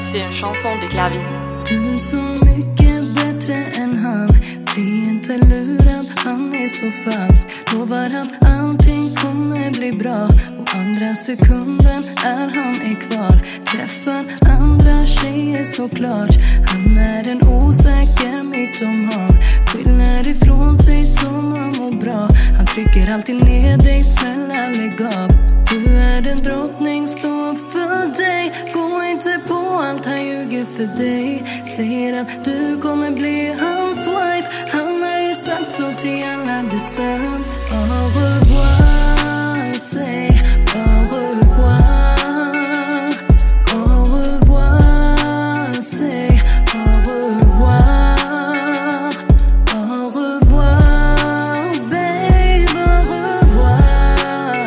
Speaker 3: C'est une chanson de clavier.
Speaker 4: Du är så mycket bättre än han Bli inte lurad, han är så falsk Lovar att allting kommer bli bra Och andra sekunden är han är kvar Träffar andra tjejer såklart Han är en osäker mytoman Skyller ifrån sig som han mår bra Han trycker alltid ner dig, snälla lägg av Du är en drottning, stå upp för dig Gå inte på allt han ljuger för dig Säger att du kommer bli hans wife Han har ju sagt så till alla, det är sant Au revoir, säg au revoir Au revoir, säg au revoir Au revoir, babe, au revoir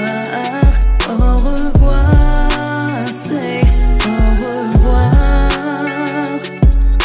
Speaker 4: Au revoir, säg au revoir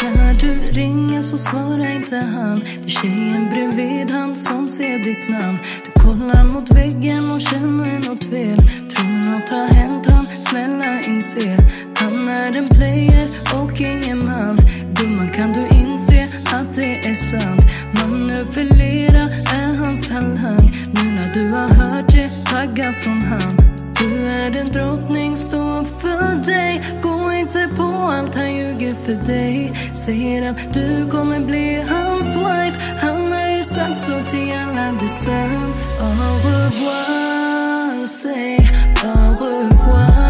Speaker 4: när du ringer så svarar inte han Det är tjejen bredvid han som ser ditt namn Du kollar mot väggen och känner något fel Tror något har hänt han, snälla inse Han är en player och ingen man Gumman kan du inse att det är sant Manipulera är hans talang Nu när du har hört det, tagga från han du är en drottning, stå upp för dig Gå inte på allt han ljuger för dig Säger att du kommer bli hans wife Han har ju sagt så till alla, det är sant Au revoir, säg au revoir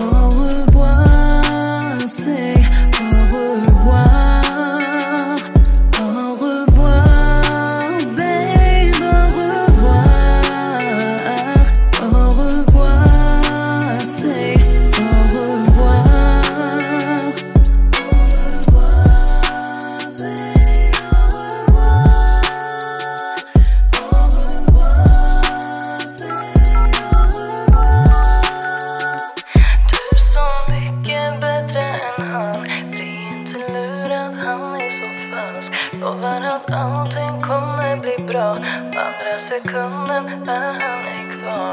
Speaker 4: Au revoir, säg au revoir Au revoir, babe, au revoir au revoir, say au revoir. Au revoir, say au revoir. Au revoir, say au revoir. Du är så mycket bättre än han Bli inte lurad, han är så falsk Lovar att allting kommer bli bra Andra sekunden är han är kvar